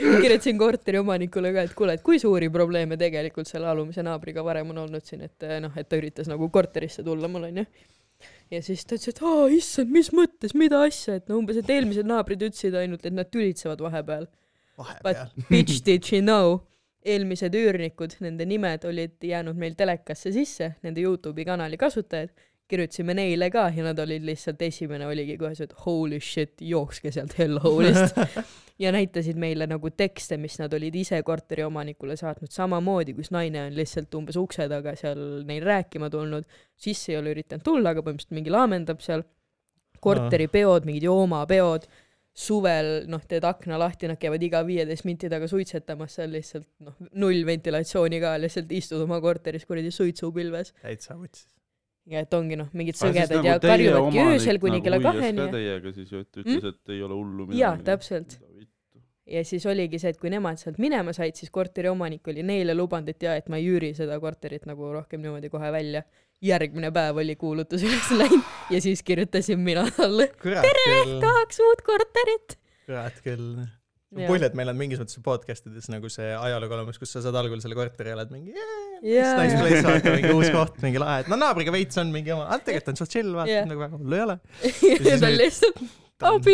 kirjutasin korteri omanikule ka , et kuule , et kui suuri probleeme tegelikult selle alumise naabriga varem on olnud siin , et eh, noh , et ta üritas nagu korterisse tulla mul onju . ja siis ta ütles , et aa issand , mis mõttes , mida asja , et no umbes , et eelmised naabrid ütlesid ainult , et nad tülitsevad vahepeal .
vahepeal .
But bitch did she know ? eelmised üürnikud , nende nimed olid jäänud meil telekasse sisse , nende Youtube'i kanali kasutajad , kirjutasime neile ka ja nad olid lihtsalt , esimene oligi kohe see , et holy shit , jookske sealt hellhole'ist . ja näitasid meile nagu tekste , mis nad olid ise korteriomanikule saatnud , samamoodi , kus naine on lihtsalt umbes ukse taga seal neil rääkima tulnud , sisse ei ole üritanud tulla , aga põhimõtteliselt mingi laamendab seal , korteripeod , mingid joomapeod , suvel noh , teed akna lahti , nad käivad iga viieteist minti taga suitsetamas seal lihtsalt noh , null ventilatsiooni ka , lihtsalt istud oma korteris kuradi suitsupilves
täitsa vutsis .
ja et ongi noh , mingid sõgedad
nagu
ja karjuvadki öösel kuni kella kaheni ja ,
Teiega siis ju , et ütles , et ei ole hullu midagi .
Jaa, täpselt. ja siis oligi see , et kui nemad sealt minema said , siis korteriomanik oli neile lubanud , et jaa , et ma ei üüri seda korterit nagu rohkem niimoodi kohe välja . järgmine päev oli kuulutus üles läinud ja siis kirjutasin mina talle ,
kurat küll ,
tahaks uut korterit .
kurat küll . pull , et meil on mingis mõttes podcast ides nagu see ajalugu olemas , kus sa saad algul selle korteri ja oled mingi yeah,
Jaa,
nice
jaa.
place , vaata mingi uus koht , mingi lahe , et no naabriga veits on mingi oma , tegelikult on suht chill , vaata
Jah.
nagu väga hullu ei ole .
ja ta lihtsalt abi ,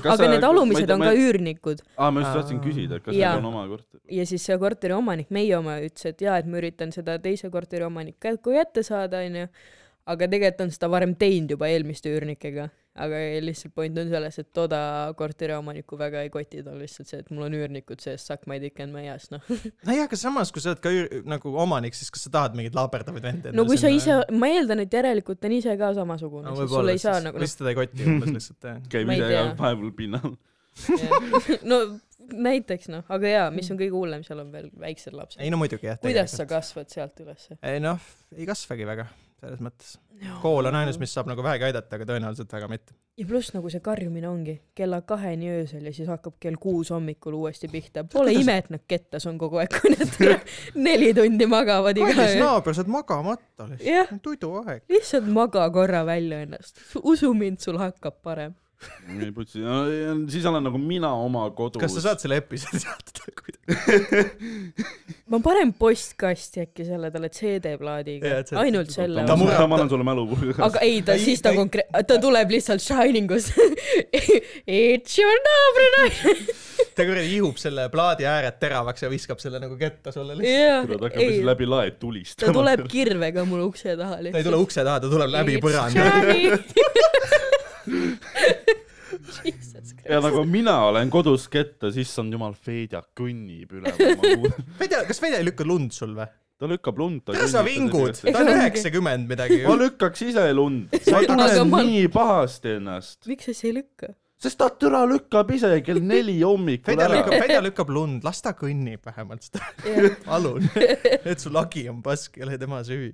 aga need alumised on ka
üüri .
üürnikud
aa , ma just tahtsin küsida , et kas
Jaa.
neil on oma korter .
ja siis see korteri omanik , meie oma ütles , et jaa , et ma üritan seda teise korteri omanik kähku kätte saada , onju . aga tegelikult on seda varem teinud juba eelmiste üürnikega , aga lihtsalt point on selles , et toda korteri omanikku väga ei koti , ta on lihtsalt see , et mul on üürnikud sees , suck my dick and my ass , noh .
nojah , aga samas , kui sa oled ka üür- nagu omanik , siis kas sa tahad mingeid laaberdavaid vende ?
no kui sa ise , ma eeldan , et järelikult on ise ka samasugune no, , siis sul ei saa nagu noh ,
lihtsalt teda ei koti umbes lihtsalt jah .
käib
Ma ei
ise
tea.
ka vahepeal pinnal .
nagu no näiteks noh , aga jaa , mis on kõige hullem , seal on veel väiksed lapsed .
Mm. ei no muidugi jah .
kuidas sa ? kasvad sealt ülesse ?
ei noh , ei kasvagi väga , selles mõttes . kool on ainus , mis saab nagu vähegi aidata , aga tõenäoliselt väga mitte .
ja pluss nagu see karjumine ongi kella kaheni öösel ja siis hakkab kell kuus hommikul uuesti pihta . Pole ime , et nad kettas on kogu aeg , kui nad neli tundi magavad iga
kallis
öö .
naaber , sa oled magamata
Jah.
lihtsalt , tuduaeg .
lihtsalt maga korra välja ennast . usu mind , sul hakkab parem .
ei putsi , siis olen nagu mina oma kodus .
kas sa saad selle episoodi sealt kuidagi ?
ma panen postkasti äkki selle talle CD-plaadiga
Jaa, et see- ,
ainult selle
Ta
ta
murrab-
murrab ,
ta-
ma annan sulle mälupulga .
aga ei , ta
Ei,
siis ta
ei-
konkre- , ta tuleb lihtsalt Shiningus . It's your naabrinaine .
ta kuradi ihub selle plaadi ääred teravaks ja viskab selle nagu kätte sulle lihtsalt .
jah
kurat , hakkab
ei
siis , läbi lae
ta
tulistama .
tuleb kirvega mul ukse taha
ta ei
lihtsalt .
tule ukse taha , ta tuleb läbi
It's
põranda .
Johnny. Jesus
ja
Christ.
nagu mina olen kodus kettas , issand jumal , Fedja kõnnib üle .
Fedja , kas Fedja ei lükka lund sul või ?
ta lükkab lund .
kuidas sa vingud ? ta on
Ega ongi.
üheksakümmend midagi .
ma lükkaks ise lund , ma
Aga
tunnen
ma-
nii pahasti ennast ,
miks sa siis ei lükka ?
sest ta türa lükkab ise kell neli hommikul
Fedja lükkab ,
ära .
Fedja lükkab lund , las ta kõnnib vähemalt seda , palun . et su lagi on pask , ei ole tema süü .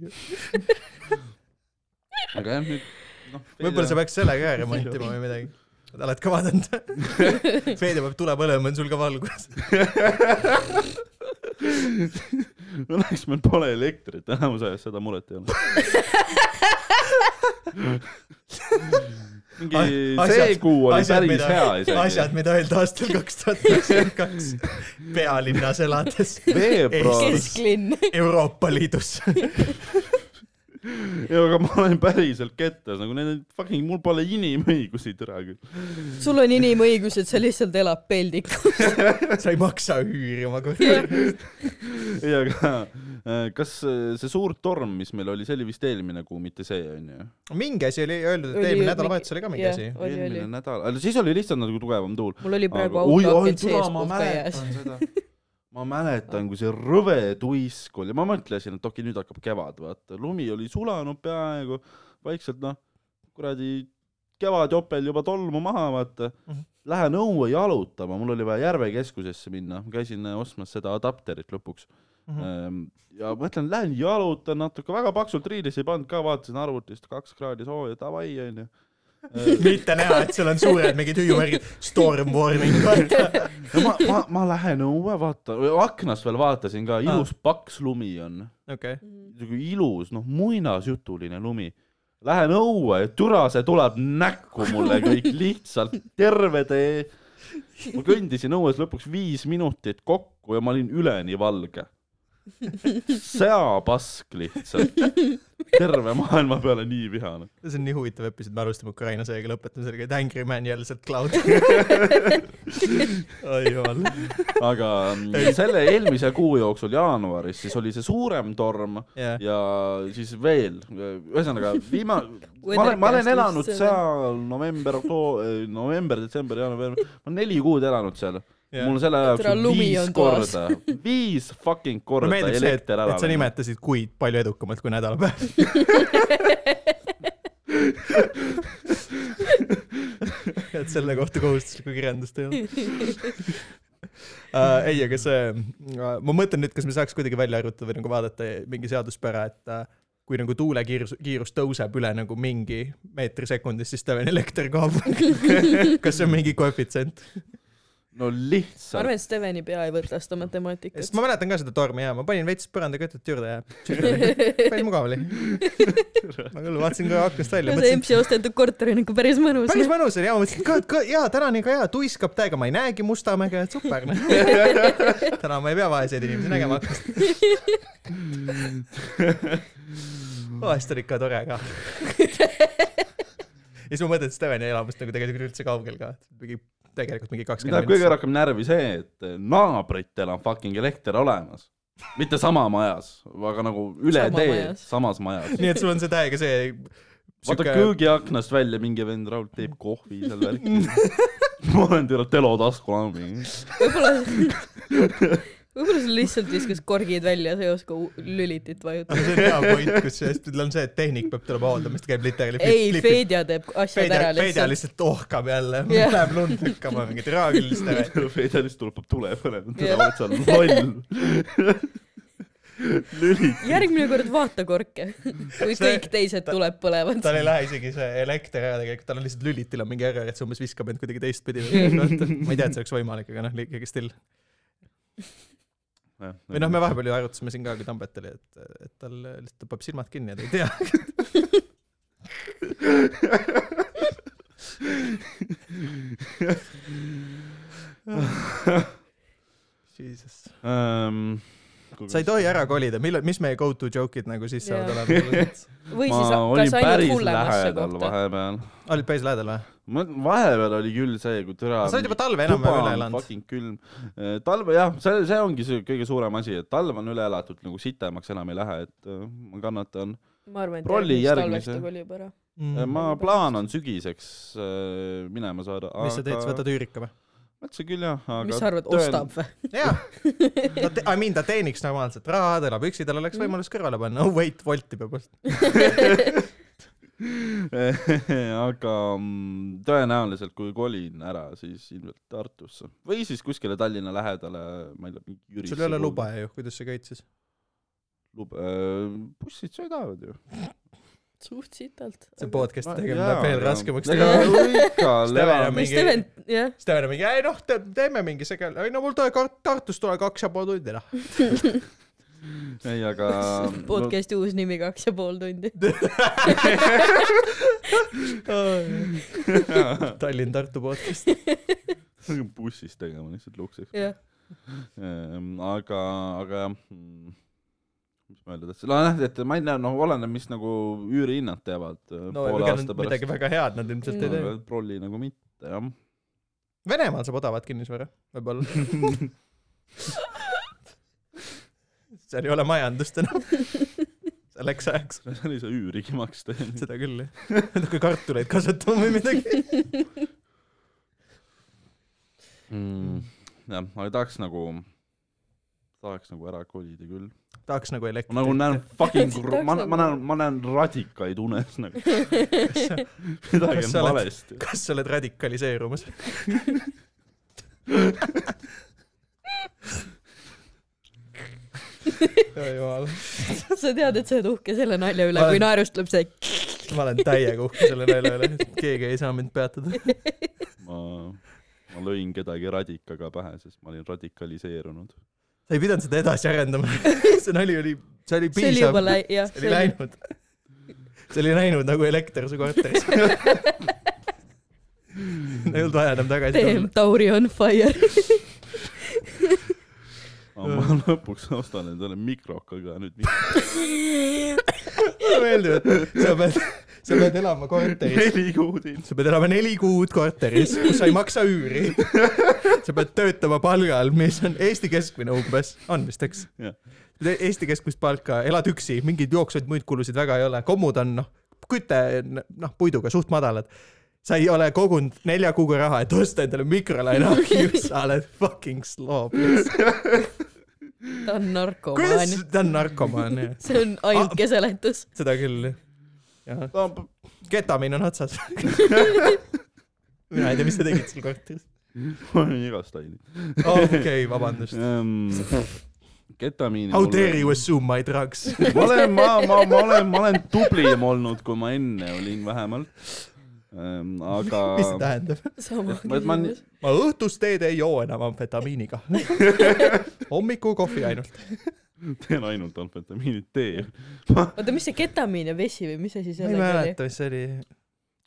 aga jah , nüüd noh .
võib-olla sa peaks selle ka remontima või midagi . oled ka vaadanud ? Fedja peab tule põlema , on sul ka valgus .
Õnneks meil pole elektrit , enamus ajast seda muret ei ole . mingi see kuu oli päris hea
asjad ,
isegi .
mida öelda aastal kaks tuhat kakskümmend kaks pealinnas elades
veebruaris ,
kesklinn .
Euroopa Liidus .
aga ma olen päriselt kettas , nagu need fucking , mul pole inimõigusi türa küll .
sul on inimõigused , sa lihtsalt elad peldikus .
sa ei maksa üüri oma korterit .
ei , aga äh, kas äh, see suur torm , mis meil oli , see oli vist eelmine kuu , mitte see onju ?
mingi asi oli öeldud , et
Oli
eelmine
ju
nädalavahetus oli ka mingi
jah.
asi .
oli , oli
eelmine . nädal , siis oli lihtsalt nagu tugevam tuul .
mul oli praegu
oi ,
auto
oi ,
akent sees
türa , ma
puhka jääs .
mäletan seda . ma mäletan , kui see rõve tuisk oli , ma mõtlesin , et okei , nüüd hakkab kevad , vaata , lumi oli sulanud peaaegu , vaikselt noh , kuradi kevadjopel juba tolmu maha , vaata
Mhm. .
Lähen õue jalutama , mul oli vaja Järve keskusesse minna , ma käisin äh, ostmas seda adapterit lõpuks . Ähm, ja mõtlen , lähen jalutan natuke , väga paksult riides ei pannud ka , vaatasin arvutist kaks kraadi sooja , davai onju .
mitte näha , et seal on suured mingid hüüumärgid , storm warning .
ma , ma , ma lähen õue , vaata , aknast veel vaatasin ka , ilus paks lumi on ,
okei ,
niisugune ilus , noh muinasjutuline lumi . Lähen õue ja türa , see tuleb näkku mulle kõik lihtsalt , terve tee . ma kõndisin õues lõpuks viis minutit kokku ja ma olin üleni valge . seapask lihtsalt , terve maailma peale nii vihane .
see on nii huvitav episood , me alustame Ukraina sõjaga , lõpetame sellega , et Angry Man jälle sealt cloud . oi jumal .
aga mm, selle eelmise kuu jooksul jaanuaris siis oli see suurem torm
jah ,
ja siis veel , ühesõnaga viima- , ma olen , ma olen
Weathercastis
elanud
selle-
seal november , oktoober , november , detsember , jaanuar , veebruar , ma olen neli kuud elanud seal . mul selle aja
Tule,
jooksul
lumi
viis
on toas.
korda , viis fucking
mulle
korda
meeldib see , et ,
elekter ära
et sa . nimetasid kuid palju edukamalt kui nädala päev . et selle kohta kohustuslikku kirjandust ei olnud uh, . ei , aga see uh, , ma mõtlen nüüd , kas me saaks kuidagi välja arvutada või nagu vaadata mingi seaduspära , et uh, kui nagu tuule kiirus , kiirus tõuseb üle nagu mingi meetri sekundis , siis tavaline elekter kaob . kas see on mingi koefitsient ?
no
ma
lihtsalt ,
arvan , et Steveni pea ei võta seda
sest
matemaatikat .
ma mäletan ka seda tormi ja ma panin veits põrandakütet juurde ja päris mugav oli . ma küll vaatasin kohe aknast
see
välja , mõtlesin ,
EMS-i ostetud korter on ikka nagu päris mõnus .
päris mõnus oli ja ma mõtlesin , et ka- jaa , täna on ikka hea , tuiskab täiega , ma ei näegi Mustamäge , et super . täna ma ei pea vaeseid inimesi nägema aknast . vahest oli ikka tore ka . ja siis ma mõtlen , et Steveni elamist nagu tegelikult üldse kaugel ka , mingi tegelikult mingi
mida
kakskümmend
kõige . rohkem närvi see , et naabritel on fucking elekter olemas . mitte sama majas , aga nagu üle
Sama
tee
majas. ,
samas majas .
nii et sul on see täiega see .
vaata Siuke... . köögiaknast välja mingi vend Raul teeb kohvi seal värki . ma olen teile telo taskulambi .
võib-olla , võib-olla sul lihtsalt viskas korgid välja , sa ei oska u- lülitit vajutada .
see on hea point , kusjuures tal on see , et tehnik peab tulema hooldama , siis ta käib literaali .
ei , Fedja teeb asjad
Feidja
ära ,
Feidja
lihtsalt .
lihtsalt ohkab jälle ,
Jah.
läheb lund lükkama mingi traagiliste või .
Federist tuleb tule
Jah.
põlema , teda oled sa loll . lüli .
järgmine kord vaata korke , kui
See-
kõik teised tuleb põlevad .
tal ei lähe isegi see elekter ära tegelikult , tal on lihtsalt lülitil on mingi error , et see umbes viskab end kuidagi teistpidi või vaata. ma ei tea , et see oleks võimalik , aga noh , ikkagi still . või noh , me vahepeal ju arutasime siin ka , kui Tambet oli , et , et tal lihtsalt tõmbab silmad kinni ja ta ei tea . Jesus .
ähm, .
sa ei tohi ära kolida , millal , mis meie go to joke'id nagu siis saavad
Jaa.
olema ?
või
ma
siis ,
olin
kas ainult
päris
hullemasse
lähedal
kohta .
vahepeal .
olid päris lähedal või ?
ma , vahepeal oli küll see , kui türa .
sa oled juba talve enam-vähem üle elanud .
fucking külm . talve jah , see , see ongi see kõige suurem asi , et talv on üle elatud , nagu sitemaks enam ei lähe , et äh, ma kannatan .
ma arvan , et
Rolli
järgmist talvest
järgmise.
ta kolib ära .
ma plaan on sügiseks äh, minema saada .
Mm. mis sa teed , sa võtad üürika või ?
mõtlesin küll jah , aga .
mis sa arvad , ostab ? või ?
jaa , I mean ta teeniks normaalselt raha , ta elab üksi , tal oleks võimalus kõrvale panna , oh wait , Wolti peab ostma .
aga mm, tõenäoliselt , kui kolin ära , siis ilmselt Tartusse või siis kuskile Tallinna lähedale , ma ei tea , mingi Jüri .
sul ei ole luba . ju , kuidas sa käid siis ?
luba , äh, bussid sõidavad ju .
suht sitalt .
see podcast'i tegemine läheb veel raskemaks . enam
raskemaks .
mingi-
Steven , jah ,
Steven on mingi , ei noh , teeme mingi sega- , ei no mul tuleb Tart- , Tartust tuleb kaks ja pool tundi noh .
ei , aga .
podcast'i uus nimi kaks ja pool tundi .
Tallinn-Tartu podcast .
bussis tegema lihtsalt lukseks .
jah ,
aga , aga jah , mis ma öelda tahtsin , nojah , et ma ei tea , noh , oleneb , mis nagu üürihinnad teevad
no ega nad midagi väga head nad ilmselt ei tee
Aga . trolli nagu mitte jah .
Venemaal saab odavat kinnisvara , võib-olla . seal ei ole majandust enam . selleks ajaks ,
seal ei saa üürigi maksta .
seda küll jah . natuke kartuleid kasvatama või midagi .
jah , ma ei tahaks nagu tahaks nagu ära kolida küll .
tahaks nagu elektrit .
ma nagu näen fucking
Tahaks ,
ma ,
nagu-
ma näen , ma näen radikaid unes nagu . midagi
Kas
on
sa oled-
valesti .
kas sa oled radikaliseerumas ? jumal ,
sa tead , et sa oled uhke selle nalja üle , kui naerust tuleb see .
ma olen täiega uhke selle nalja üle , keegi ei saa mind peatada .
ma , ma lõin kedagi radikaga pähe , sest ma olin radikaliseerunud .
sa ei pidanud seda edasi arendama , see nali oli , see oli
see oli
piisav ,
juba läi- , jah .
see oli läinud . see oli läinud nagu elekter su korteris . ei olnud vaja enam tagasi
Damn , Tauri on fire .
aga ma lõpuks ostan endale mikrokaga nüüd mi-
tulla . meeldib , et sa pead , sa pead elama korteris .
neli kuud ilma .
sa pead elama neli kuud korteris , kus sa ei maksa üüri . sa pead töötama palgal , mis on Eesti keskmine umbes , on vist , eks
Jah. ?
Eesti keskmist palka , elad üksi , mingeid jooksvaid muid kulusid väga ei ole , kommud on noh , küte on noh , puiduga suht madalad . sa ei ole kogunud nelja kuuga raha , et osta endale mikrolaenuahju , sa oled fucking slob .
ta on narkomaan
kuidas . ta on narkomaan jah ,
see on
Ah.
ainuke seletus .
seda küll jah . ketamiin on otsas . mina ei tea , mis sa tegid seal korteris .
ma olin igast ainult .
okei okay, , vabandust .
Ähm, ketamiini .
How dare you assume my drugs ?
ma olen , ma , ma , ma olen , ma olen tublim olnud , kui ma enne olin vähemalt ähm, . aga .
mis see tähendab ?
sama
Ma- et ma nii-
küsimus .
ma õhtust teed ei joo enam amfetamiiniga . hommikukohvi ainult .
teen ainult amfetamiini tee .
oota , mis see ketamiin ja vesi või mis asi
ma ei
sellega oli ?
mäleta , mis see oli .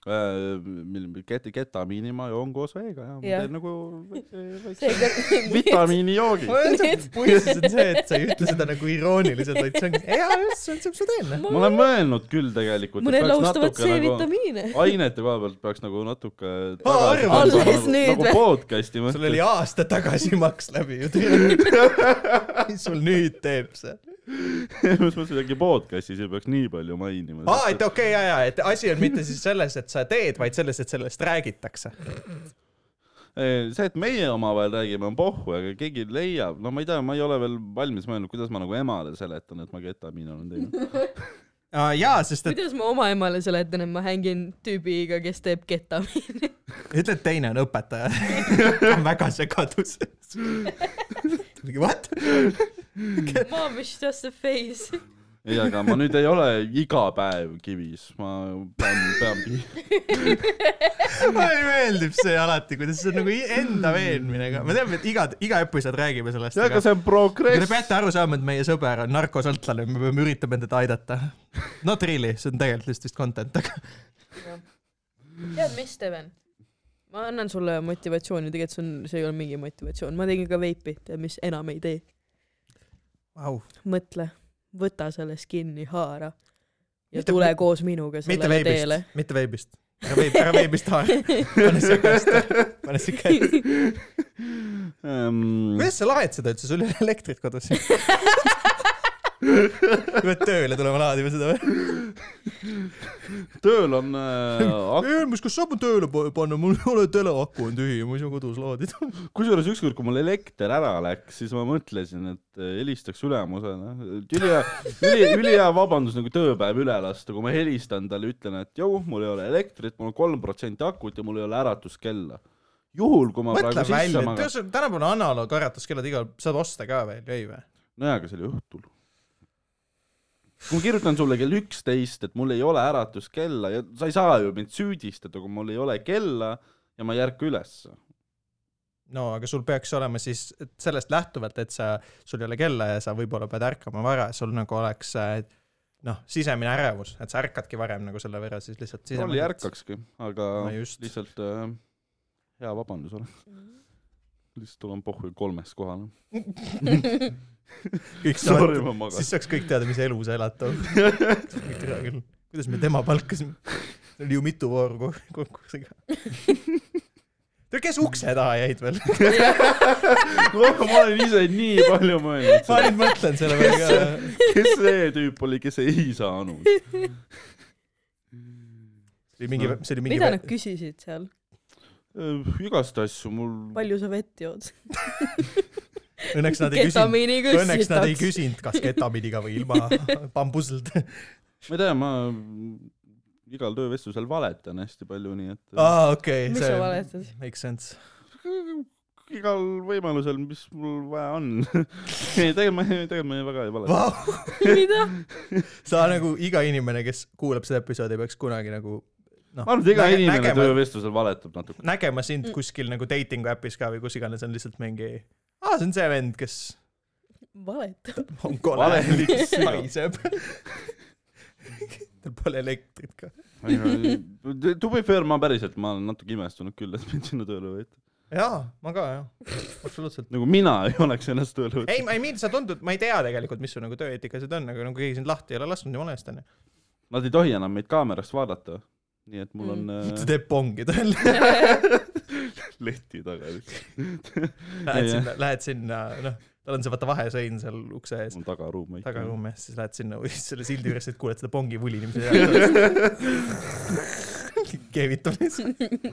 Ehm, ket- , ketamiini ma joon koos veega ja ma
Jah.
teen nagu väikse , väikse
seega ,
vitamiinijoogi .
Need-
põhjus on see , et sa ei ütle seda nagu irooniliselt , vaid see ongi , jaa , just , see on see , mis ma teen .
ma olen mõelnud küll tegelikult .
mõned laustavad
nagu-
C-vitamiine .
ainete koha pealt peaks nagu natuke .
arvad?
Alles nüüd
nagu
või?
podcast'i
sul oli
mõttes .
aasta tagasi maks läbi ju . mis sul nüüd teeb see ?
selles mõttes , et äkki podcast'is ei peaks nii palju mainima .
aa , et okei okay, , jaa , jaa , et asi on mitte siis selles , et sa teed , vaid selles , et sellest räägitakse .
Ei, see , et meie omavahel räägime , on pohhu , aga keegi leiab , no ma ei tea , ma ei ole veel valmis mõelnud , kuidas ma nagu emale seletan , et ma ketamiini olen teinud .
jaa , sest et
kuidas ma oma emale seletan , et ma hängin tüübiga , kes teeb ketamiini ?
ütle , et teine on õpetaja . ta on väga segadus . mingi what ?
Mom is just a face .
ei , aga ma nüüd ei ole iga päev kivis , ma pean , pean ,
mulle meeldib see alati , kuidas see on nagu i- enda veenmine ka . me teame , et iga , iga episood räägime sellest ,
aga
aga
see on
te
progress .
peate aru saama , et meie sõber on narkosõltlane , me peame üritama teda aidata . Not really , see on tegelikult lihtsalt vist content , aga
tead mis , Steven ? ma annan sulle motivatsiooni , tegelikult see on , see ei ole mingi motivatsioon , ma tegin ka veipi , tead mis , enam ei tee .
wow.
mõtle , võta sellest kinni , haara ja
Mitte-
mitte, tule koos minuga
mitte
sellele teele
veebist ., mitte veebist . ära veeb- , ära veebist haara . pane see kasti , pane see kasti .
Ehm,
kuidas sa laed seda üldse , sul ei ole elektrit kodus ? pead tööle tulema laadima seda või ?
tööl on äh, ak- ,
eelmis , kas saab mu tööle pa- panna , mul ei ole teleaku on tühi , ma ei saa kodus laadida .
kusjuures ükskord , kui mul elekter ära läks , siis ma mõtlesin , et eh, helistaks ülemusele . ülihea , üli , ülihea vabandus nagu tööpäev üle lasta , kui ma helistan talle , ütlen , et jõu , mul ei ole elektrit , mul on kolm protsenti akut ja mul ei ole äratuskella . juhul , kui ma
mõtle
praegu
välja
sisse , magan .
tänapäeval analoogäratuskellad igal , saab osta ka veel , ei või ?
nojah , aga see oli õhtul . kui ma kirjutan sulle kell üksteist , et mul ei ole äratuskella ja sa ei saa ju mind süüdistada , kui mul ei ole kella ja ma ei ärka ülesse .
no aga sul peaks olema siis et sellest lähtuvalt , et sa , sul ei ole kella ja sa võib-olla pead ärkama vara , sul nagu oleks äh, noh , sisemine ärevus , et sa ärkadki varem nagu selle võrra siis lihtsalt
mul ei . ärkakski , aga
no just ,
lihtsalt äh, hea vabandus ole . lihtsalt olen pohhu kolmes kohal .
kõik
Sorry ,
saavad ,
ma magasin
siis . saaks kõik teada , mis elu sa elad tol . tere küll , kuidas me tema palkasime , see oli ju mitu vooru ko- konkursiga . kes ukse taha jäid veel ?
ma olen ise nii palju mõelnud
ma
seda ,
nüüd mõtlen selle peale ka
kes see tüüp oli , kes ei saanud .
see oli mingi , see oli mingi
mida nad küsisid seal ,
Äh, igast asju mul ,
palju sa vett jood ?
õnneks nad ei küsinud ,
ketamiini
õnneks nad ei
kussitaks .
küsinud , kas ketamiiniga või ilma bambusld .
ma ei tea , ma igal töövestlusel valetan hästi palju , nii et äh,
aa , okei .
Miks sa valetad? ?
Makes sense .
igal võimalusel , mis mul vaja on . ei , tegelikult ma , tegelikult ma ei- väga ei valeta .
Vau ,
mida ?
sa nagu iga inimene , kes kuulab seda episoodi , peaks kunagi nagu noh
ma , arvan , et iga
Näge-
inimene
nägema-
töövestlusel valetab natuke .
nägema
Mm.
sind kuskil nagu dating äpis ka või kus iganes on lihtsalt mingi , aa , see on see vend , kes
valetab .
on kole
Valelik , siga.
haiseb . tal pole elektrit ka .
To be fair , ma päriselt , ma olen natuke imestunud küll , et mind sinna tööle võeti .
jaa , ma ka jah , absoluutselt .
nagu mina ei oleks ennast
ei ,
tööle võtnud .
ma ei mean , sa tundud , ma ei tea tegelikult , mis su nagu tööeetikasid on , aga nagu keegi sind lahti ei ole lasknud , jumala eest onju .
Nad ei tohi enam meid kaamerast vaadata . nii et mul on
ta
äh,
teeb pongi tal .
leti taga lihtsalt .
Lähed
Ei, jah.
sinna , lähed sinna , noh , tal on see vaata vahesein seal ukse ees
mul tagaruum ikka .
tagaruumis , siis lähed sinna või selle sildi üles , et kuuled seda pongi vulinimise häält . keevitab lihtsalt .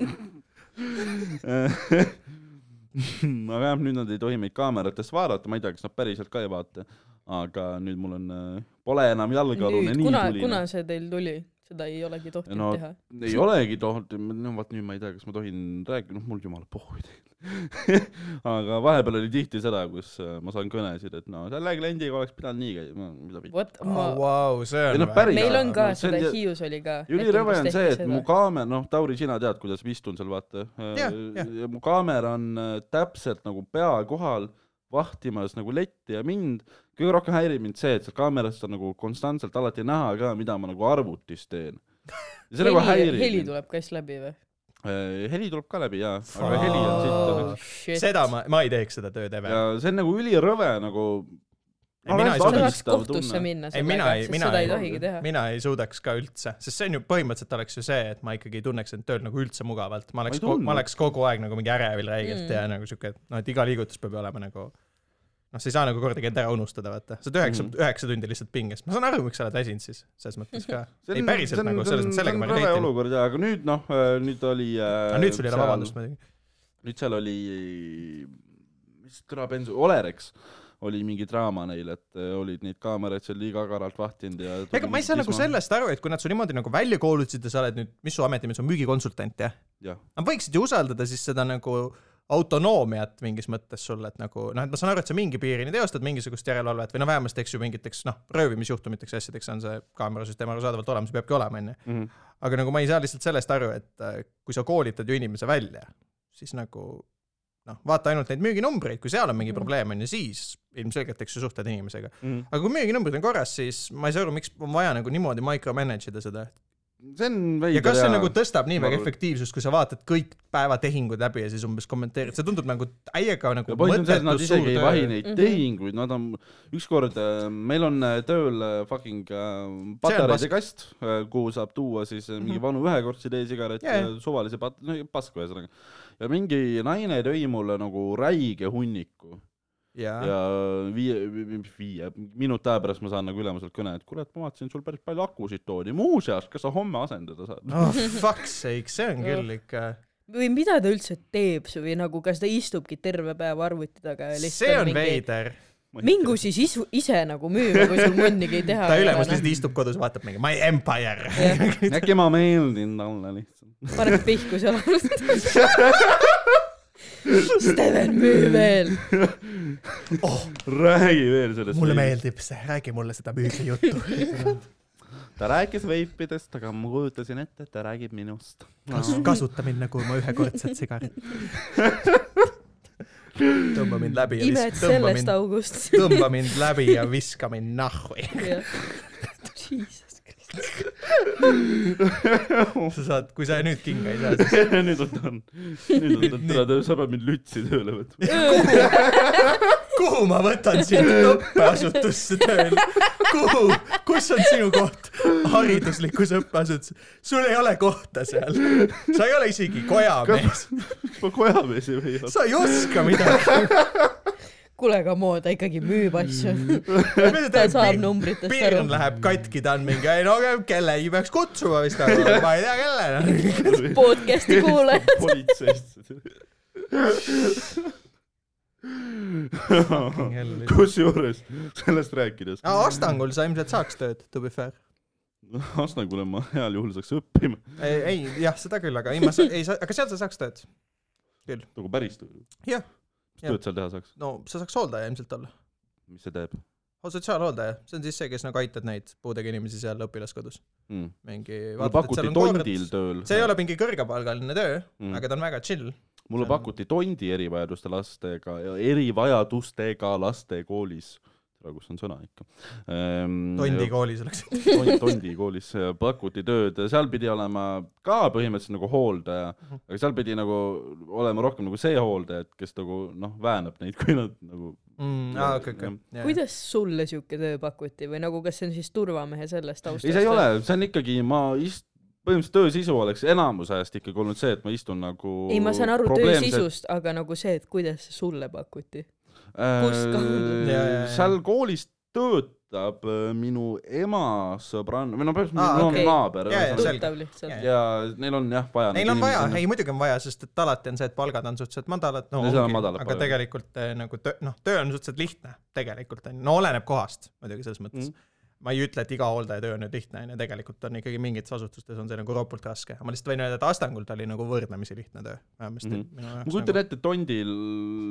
aga jah , nüüd nad ei tohi meid kaameratest vaadata , ma ei tea , kas nad päriselt ka ei vaata . aga nüüd mul on , pole enam jalgealune
nüüd ,
nii
kuna ,
tuline
kuna . see teil tuli ? seda ei olegi tohtinud
No-
no. teha .
ei olegi tohutu , no vot nüüd ma ei tea , kas ma tohin rääkida , noh mul jumala pohhu ei teinud . aga vahepeal oli tihti seda , kus äh, ma saan kõnesid , et no selle kliendiga oleks pidanud nii käima , mida pidi .
vot ma oh, ,
Vau , see
Ei
on
noh, päris-
wow. meil on ka
No
no,
see on
seda
ju- ,
Hiius oli ka .
ülirõve on see , et mu kaamera , noh , Tauri , sina tead , kuidas ma istun seal , vaata .
Jah, jah.
mu kaamera on äh, täpselt nagu pea kohal vahtimas nagu letti ja mind kõige rohkem häirib mind see , et seal kaameras on nagu konstantselt alati näha ka , mida ma nagu arvutis teen . ja see nagu häirib
heli
mind .
tuleb kass läbi või ?
Äh, heli tuleb ka läbi jaa , aga heli on
Oh,
siit . nagu-
seda ma , ma ei teeks seda tööd ever
ja . see on nagu ülirõve nagu .
Ei, mina ei
sa
Abistav
tahaks kohtusse minna
ei , mina
sellega ,
ei ,
sest
mina
seda ei
ei
tohigi teha ,.
mina ei suudaks ka üldse , sest see on ju põhimõtteliselt oleks ju see , et ma ikkagi ei tunneks end tööl nagu üldse mugavalt , ma oleks
ei , tundnud.
ma oleks kogu aeg nagu mingi ärevil räigelt
Mm.
ja nagu siuke , noh , et iga liigutus peab ju olema nagu noh , sa ei saa nagu kordagi end ära unustada , vaata , sa oled üheksa ,
Mm.
üheksa tundi lihtsalt pinges , ma saan aru , miks sa oled väsinud siis selles mõttes ka . ei päriselt nagu selles mõttes , sellega ma
ei leiti .
relate in .
olukord jaa , aga nüüd noh , nüüd oli .
aga nüüd sul ei ole vabandust muidugi .
nüüd seal oli , mis türa bensu , Olerex oli mingi draama neil , et äh, olid neid kaameraid seal liiga agaralt vahtinud ja
ega ma ei saa nagu . sellest aru , et kui nad su niimoodi nagu välja koolutasid ja sa oled nüüd , mis su ametimees on , müügikonsultant jah ?
jah ,
Nad võiksid ju usaldada siis seda nagu autonoomiat mingis mõttes sulle , et nagu noh , et ma saan aru , et sa mingi piirini teostad mingisugust järelevalvet või no vähemasti eks ju mingiteks noh , röövimisjuhtumiteks ja asjadeks on see kaamerasüsteem arusaadavalt olemas , peabki olema , onju
Mhm. .
aga nagu ma ei saa lihtsalt sellest aru , et äh, kui sa koolitad ju inimese välja , siis nagu noh , vaata ainult neid müüginumbreid , kui seal on mingi
Mhm.
probleem , onju , siis ilmselgelt , eks ju , suhtled inimesega .
Mhm.
aga kui müüginumbrid on korras , siis ma ei saa aru , miks on vaja nagu niimoodi micromanage ida seda ,
see on
ja
veider
kas see nagu tõstab nii
Ma
väga
arvan-
efektiivsust , kui sa vaatad kõik päevatehingud läbi ja siis umbes kommenteerid , see tundub nagu täiega nagu
ja point on see , et nad
mõttetu suur
isegi ei vahi
töö .
neid
Mhm.
tehinguid , nad on , ükskord äh, meil on äh, tööl äh, fucking äh, patareide kast , kuhu saab tuua siis äh, mingi
Mhm.
vanu ühekordseid e-sigarette
Jaa,
yeah.
jaa. ,
suvalise pat- , no pasku ühesõnaga . ja mingi naine tõi mulle nagu räige hunniku
jaa ,
ja äh, viie , viie minuti aja pärast ma saan nagu ülemuselt kõne , et kurat , ma vaatasin , sul päris palju akusid toodi , muuseas , kas sa homme asendada saad ?
oh fuck's sake , see on küll ikka ,
või mida ta üldse teeb su- või nagu , kas ta istubki terve päev arvuti taga ja lihtsalt
see on . veider .
mingu siis isu, ise nagu müüma , kui sul munnigi teha noh,
ta ülemus lihtsalt istub kodus , vaatab mingi My Empire .
lihtsalt .
äkki ma meeldin talle lihtsalt .
paneb pihku seal arvutis . Steven , müü veel .
oh ,
räägi veel sellest .
mulle . meeldib see , räägi mulle seda müügijuttu .
ta rääkis veipidest , aga ma kujutasin ette , et ta räägib minust .
kasuta mind nagu oma ühekordset sigaret . tõmba mind läbi ja
imed
vis- , tõmba
sellest
mind ,
august .
tõmba mind läbi ja viska mind nahhu .
Jesus Christ .
Oh.
sa saad , kui sa nüüd kinga ei saa , siis
nüüd on ta , nüüd on ta , ta , sa pead mind lütsi tööle võtma .
kuhu ma võtan sind õppeasutusse tööle ? kuhu , kus on sinu koht hariduslikus õppeasutuses ? sul ei ole kohta seal . sa ei ole isegi kojamees ,
ma kojamees ei või olla .
sa ei oska midagi .
kuule , aga Mo , ta ikkagi müüb asju .
Mm.
ta saab
piirn
numbritest
piirn
aru .
läheb katki , ta on mingi , ei no kellegi peaks kutsuma vist , aga ma ei tea , kelle .
podcast'i kuulajad .
politseist .
hell.
kusjuures sellest rääkides ,
Astangul noh. sa ilmselt saaks tööd , to be fair . oh.
Asnagule ma heal juhul saaks õppima ,
ei , ei , jah , seda küll , aga ei , ma sa, ei saa , aga seal sa saaks tööd .
nagu päris töö .
Jah.
mis tööd seal teha saaks ,
no sa saaks hooldaja ilmselt olla .
mis see teeb
sotsiaalhooldaja , see on siis see , kes nagu aitab neid puudega inimesi seal õpilaskodus .
mm. ?
mingi .
mulle pakuti tondil tööl ,
see ei ole mingi kõrgepalgaline töö mm. ,
Mm.
aga ta on väga chill .
mulle
see on-
pakuti tondi erivajaduste lastega , erivajadustega laste koolis , kus on sõna ikka ehm, .
tondi koolis oleks .
Tond- Tondi koolis pakuti tööd , seal pidi olema ka põhimõtteliselt nagu hooldaja ,
Mhm.
aga seal pidi nagu olema rohkem nagu see hooldaja , et kes nagu noh , väänab neid , kui nad nagu
Mm, aa , okei , okei .
kuidas sulle siuke töö pakuti või nagu , kas see on siis turvamehe selles taustas ?
ei , see ei ole , see on ikkagi , ma ist- , põhimõtteliselt töö sisu oleks enamus ajast ikkagi olnud see , et ma istun nagu
ei , ma saan aru töö . sisust , aga nagu see , et kuidas see sulle pakuti . Kus kahandub?
Jaa, jaa, jaa.
Äh, seal koolis töötab äh, minu ema sõbrann- , või no
Aa,
põhimõtteliselt minu
okei.
okay.
Jaa,
naaber
jaa,
ühesõnaga.
selge.
tuttav lihtsalt .
ja neil on jah vaja
Neil on vaja , ei muidugi on vaja , sest et alati on see , et palgad on suhteliselt madalad , no
Ja seal on
ongi,
madalad
aga
palgad.
tegelikult eh, nagu töö , noh , töö on suhteliselt lihtne tegelikult on ju , no oleneb kohast muidugi selles mõttes mm. ma ei ütle , et iga hooldaja töö on nüüd lihtne , on ju , tegelikult on ikkagi mingites asutustes on see nagu ropult raske , ma lihtsalt võin öelda , et Astangult oli nagu võrdlemisi lihtne töö , vähemasti
Mhm.
mm. minu
ma
jaoks
kujutan ette , et Tondil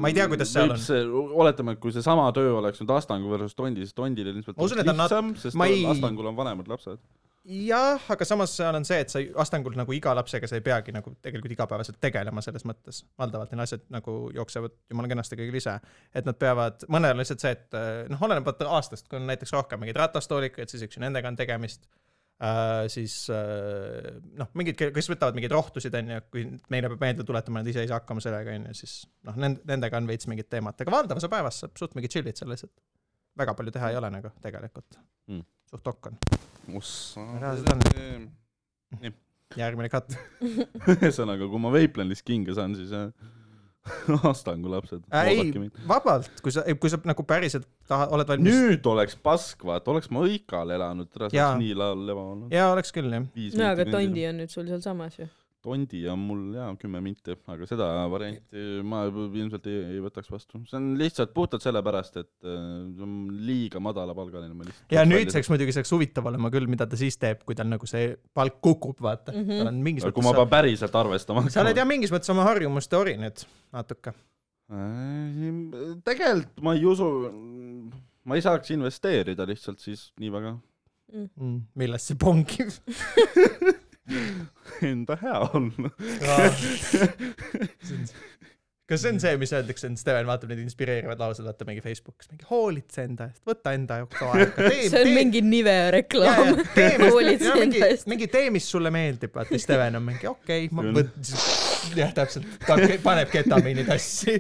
Ma ei tea, kuidas seal
võib
on.
see, oletame , et kui seesama töö oleks nüüd Astangu versus Tondi , siis Tondil ilmselt
Ma usun,
oleks
et on nat-
lihtsam , sest
ma ei-
ei... Astangul on vanemad lapsed .
jah , aga samas seal on see , et sa ei- Astangul nagu iga lapsega sa ei peagi nagu tegelikult igapäevaselt tegelema selles mõttes . valdavalt neil asjad nagu jooksevad jumala kenasti kõigil ise . et nad peavad , mõnel on lihtsalt see , et äh, noh , oleneb vaata aastast , kui on näiteks rohkem mingeid ratastoolikuid , siis eks ju nendega on tegemist . Uh, siis uh, noh , mingid , kes võtavad mingeid rohtusid , onju , kui neile peab meelde tuletama , nad ise ei saa hakkama sellega , onju , siis noh , nendega on veits mingit teemat , aga valdavas päevas saab suht mingi chill'id seal lihtsalt . väga palju teha ei ole nagu tegelikult
Mm.
mm. . suht okk on . Reaalselt on.
ühesõnaga ,
järgmine katt .
kui ma Veiplandis kinga saan , siis äh, Astangu lapsed .
Äh, ei , vabalt , kui sa , kui sa nagu päriselt taha, oled valmis .
nüüd oleks pask , vaata , oleks ma Õikal elanud , täna
Jaa.
saaks nii laul leva olnud .
jaa , oleks küll jah .
no aga Tondi on nüüd sul sealsamas ju .
Tondi on mul jaa kümme minti , aga seda varianti ma ilmselt ei, ei võtaks vastu , see on lihtsalt puhtalt sellepärast , et äh, see on liiga madalapalgaline , ma lihtsalt .
ja nüüdseks muidugi see oleks huvitav olema küll , mida ta siis teeb , kui tal nagu see palk kukub , vaata mm .
Mhm.
-hmm. tal on mingis
kui ma
mõttes
pean , päriselt arvestama
sa oled jah mingis mõttes oma harjumuste ori nüüd natuke .
Äh, tegelikult ma ei usu , ma ei saaks investeerida lihtsalt siis nii väga
millest Mm, see pongib ?
enda heaollu .
kas see on see , mis öeldakse , et Steven vaatab neid inspireerivaid lauseid , vaata mingi Facebookis , mingi hoolitse enda eest , võta enda jaoks aega , tee ,
see on
tee
mingi Nive
Jaa,
reklaam
jaa, . tee, mis-
hoolitse
jaa, mingi-
enda eest.
mingi tee , mis sulle meeldib , vaata Steven on mingi okei okay, , ma
Küll.
võtan siis jah , täpselt , ta ke- paneb ketamiini tassi .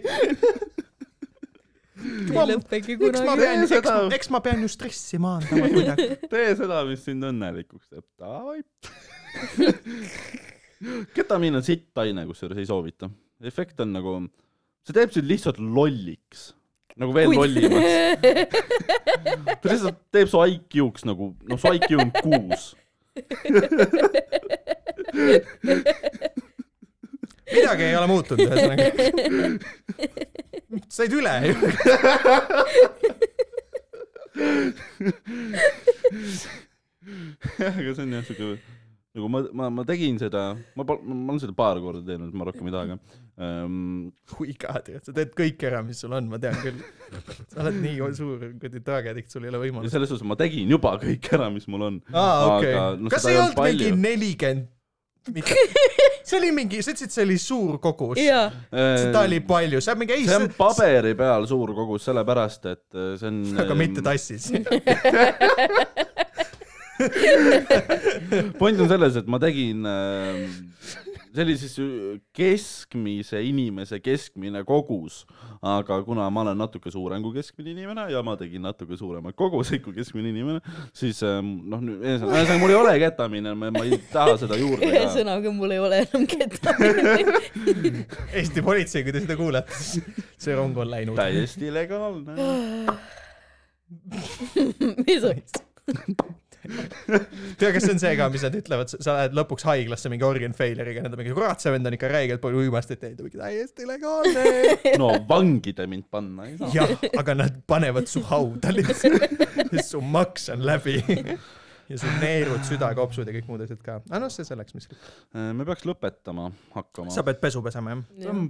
ei lõpegi
eks ma
kunagi .
pean ,
seda-
eks , eks ma pean ju stressi maandama kuidagi .
tee seda , mis sind õnnelikuks teeb , davai . ketamiin on sitt aine , kusjuures ei soovita . efekt on nagu , see teeb sind lihtsalt lolliks , nagu veel lollimaks . ta lihtsalt teeb su IQ-ks nagu , noh , su IQ on kuus .
midagi ei ole muutunud ühesõnaga . said üle ju .
aga see on jah siuke , nagu ma , ma , ma tegin seda , ma , ma olen seda paar korda teinud , ma rohkem ei taha ka um, .
kui ka tead , sa teed kõik ära , mis sul on , ma tean küll . sa oled nii suur kuradi tõekadikt , sul ei ole
ja
võimalust .
selles suhtes ma tegin juba kõik ära , mis mul on .
aa , okei
Aga, no
okay. . kas
seda
ei
ei
olnud
olnud
mingi
palju.
nelikümmend ? see oli mingi , sa ütlesid , see oli suur kogus .
jaa ,
seda oli palju , see on mingi ei ,
see on paberi peal suur kogus , sellepärast et äh, see on .
aga mitte . tassis .
point on selles , et ma tegin äh, sellises ju- keskmise inimese keskmine kogus , aga kuna ma olen natuke suurem kui keskmine inimene ja ma tegin natuke suuremaid koguseid kui keskmine inimene , siis ähm, noh , ühesõnaga ühesõnaga mul ei ole ketamine , ma ei taha seda juurde ka .
ühesõnaga mul ei ole enam ketamiini .
Eesti politsei , kui te seda kuulete , siis see rong on läinud .
täiesti legaalne .
mis on ?
tea , kas see on see ka , mis nad ütlevad , sa lähed lõpuks haiglasse mingi organ failure'iga , nad on mingi kurat , see vend on ikka räigelt palju uimastit teinud , mingi täiesti legaalne .
no vangi te mind panna ei saa .
jah , aga nad panevad su hauda lihtsalt . su maks on läbi . ja su neerud , südakopsud ja kõik muud asjad ka . aga noh , see selleks , mis .
Äh, me peaks lõpetama hakkama .
sa pead pesu pesema jah ?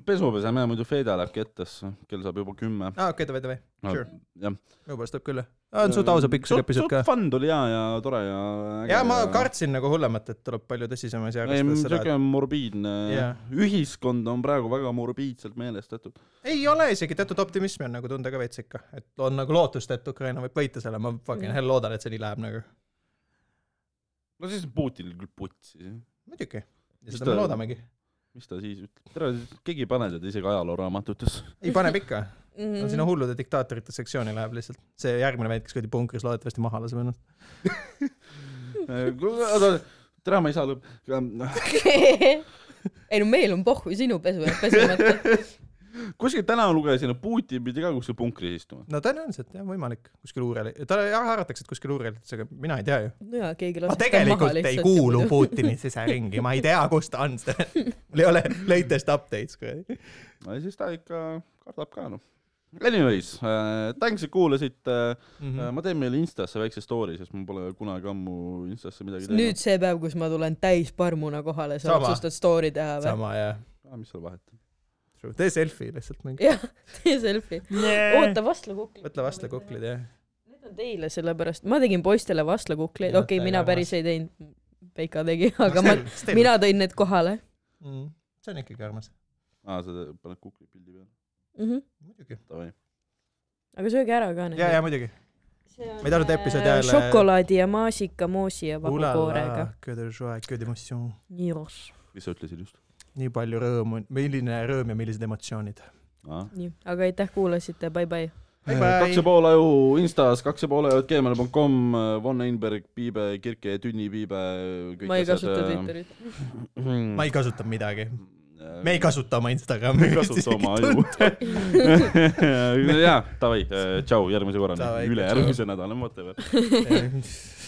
pesu peseme , muidu Fede läheb kettesse , kell saab juba kümme .
aa , Ah, okei , davai , davai , sure .
jah . Äh,
minu poolest võib küll . on suht ausa pikk see episood ka .
fun tuli hea ja tore ja .
ja ma . kartsin nagu hullemat , et tuleb palju tõsisem asi
ei ,
arvestades seda ,
siuke morbiidne
Jah.
yeah. , ühiskond on praegu väga morbiidselt meelestatud .
ei ole isegi , teatud optimismi on nagu tunda ka veits ikka , et on nagu lootust , et Ukraina võib võita selle , ma fucking hell loodan , et see nii läheb nagu .
no siis Putinil küll putsi ,
muidugi , ja
Mis
seda me
ta-
loodamegi .
mis ta siis ütleb , tere , keegi ei pane teda isegi ajalooraamatutesse .
ei , paneb ikka ,
Mhm.
no sinna hullude diktaatorite sektsiooni läheb lihtsalt . see järgmine vend , kes kuradi punkris loodetavasti maha laseb ennast .
oota , tere , ma ei saa lõpp- ,
ei no meil on pohhu , sinu pesu jääb pesemata .
kuskil täna lugesin , et Putin pidi ka kuskil punkris istuma .
no tõenäoliselt jah , võimalik , kuskil uurel , ta jah arvatakse , et kuskil uurel , aga mina ei tea ju .
no jaa , keegi
ma
laseb ta maha
tegelikult ei
lihtsalt .
kuulu Putini siseringi , ma ei tea , kus ta on , mul ei ole latest updates kuradi .
no ja siis ta ikka kardab ka noh . Anyways uh, , thanks , et kuulasite uh, . ma teen meile Instasse väikse story , sest ma pole kunagi ammu Instasse midagi
nüüd see päev , kus ma tulen täis parmuna kohale , sa
Sama.
otsustad story teha või ?
sama jah ,
teinud ah, . mis seal vahet on ?
tee selfie lihtsalt mingi .
jah , tee selfie . oota , vastlakukli .
võtle vastu kuklid jah .
Need on teile sellepärast , ma tegin poistele vastlakukleid ,
Jah,
okei okay, ,
täiega
mina päris
armas.
ei teinud . Peika tegi ,
Noh,
aga ma , mina tõin need kohale
mm, . see on ikkagi armas .
aa , Ah, sa te- paned kukli pildi peale ,
mm . -hmm.
muidugi .
davai .
aga sööge ära ka
ja ,
need .
ja muidugi . ma ei tahtnud episoodi ajal . äh,
šokolaadi ja maasikamaasi ja vahukoorega ..
Que de joie , que de emotion .
nii os .
mis sa ütlesid just ?
nii palju rõõmu , milline rõõm ja millised emotsioonid .
nii , aga aitäh , kuulasite , bye-bye .
Ah. kaks ja pool aju Instas , kaks ja pool aju gmail.com , Von Einberg , Piibe , Kirke , Tünni , Piibe .
ma ei
äh,
kasuta . Twitterit .
ma ei kasuta midagi . me
me
ei kasuta oma Instagrami .
mm. Äh, ei kasuta oma aju . jaa , davai , tšau , järgmise korrani
Davai, ,
ülejärgmise nädala , whatever .
aju .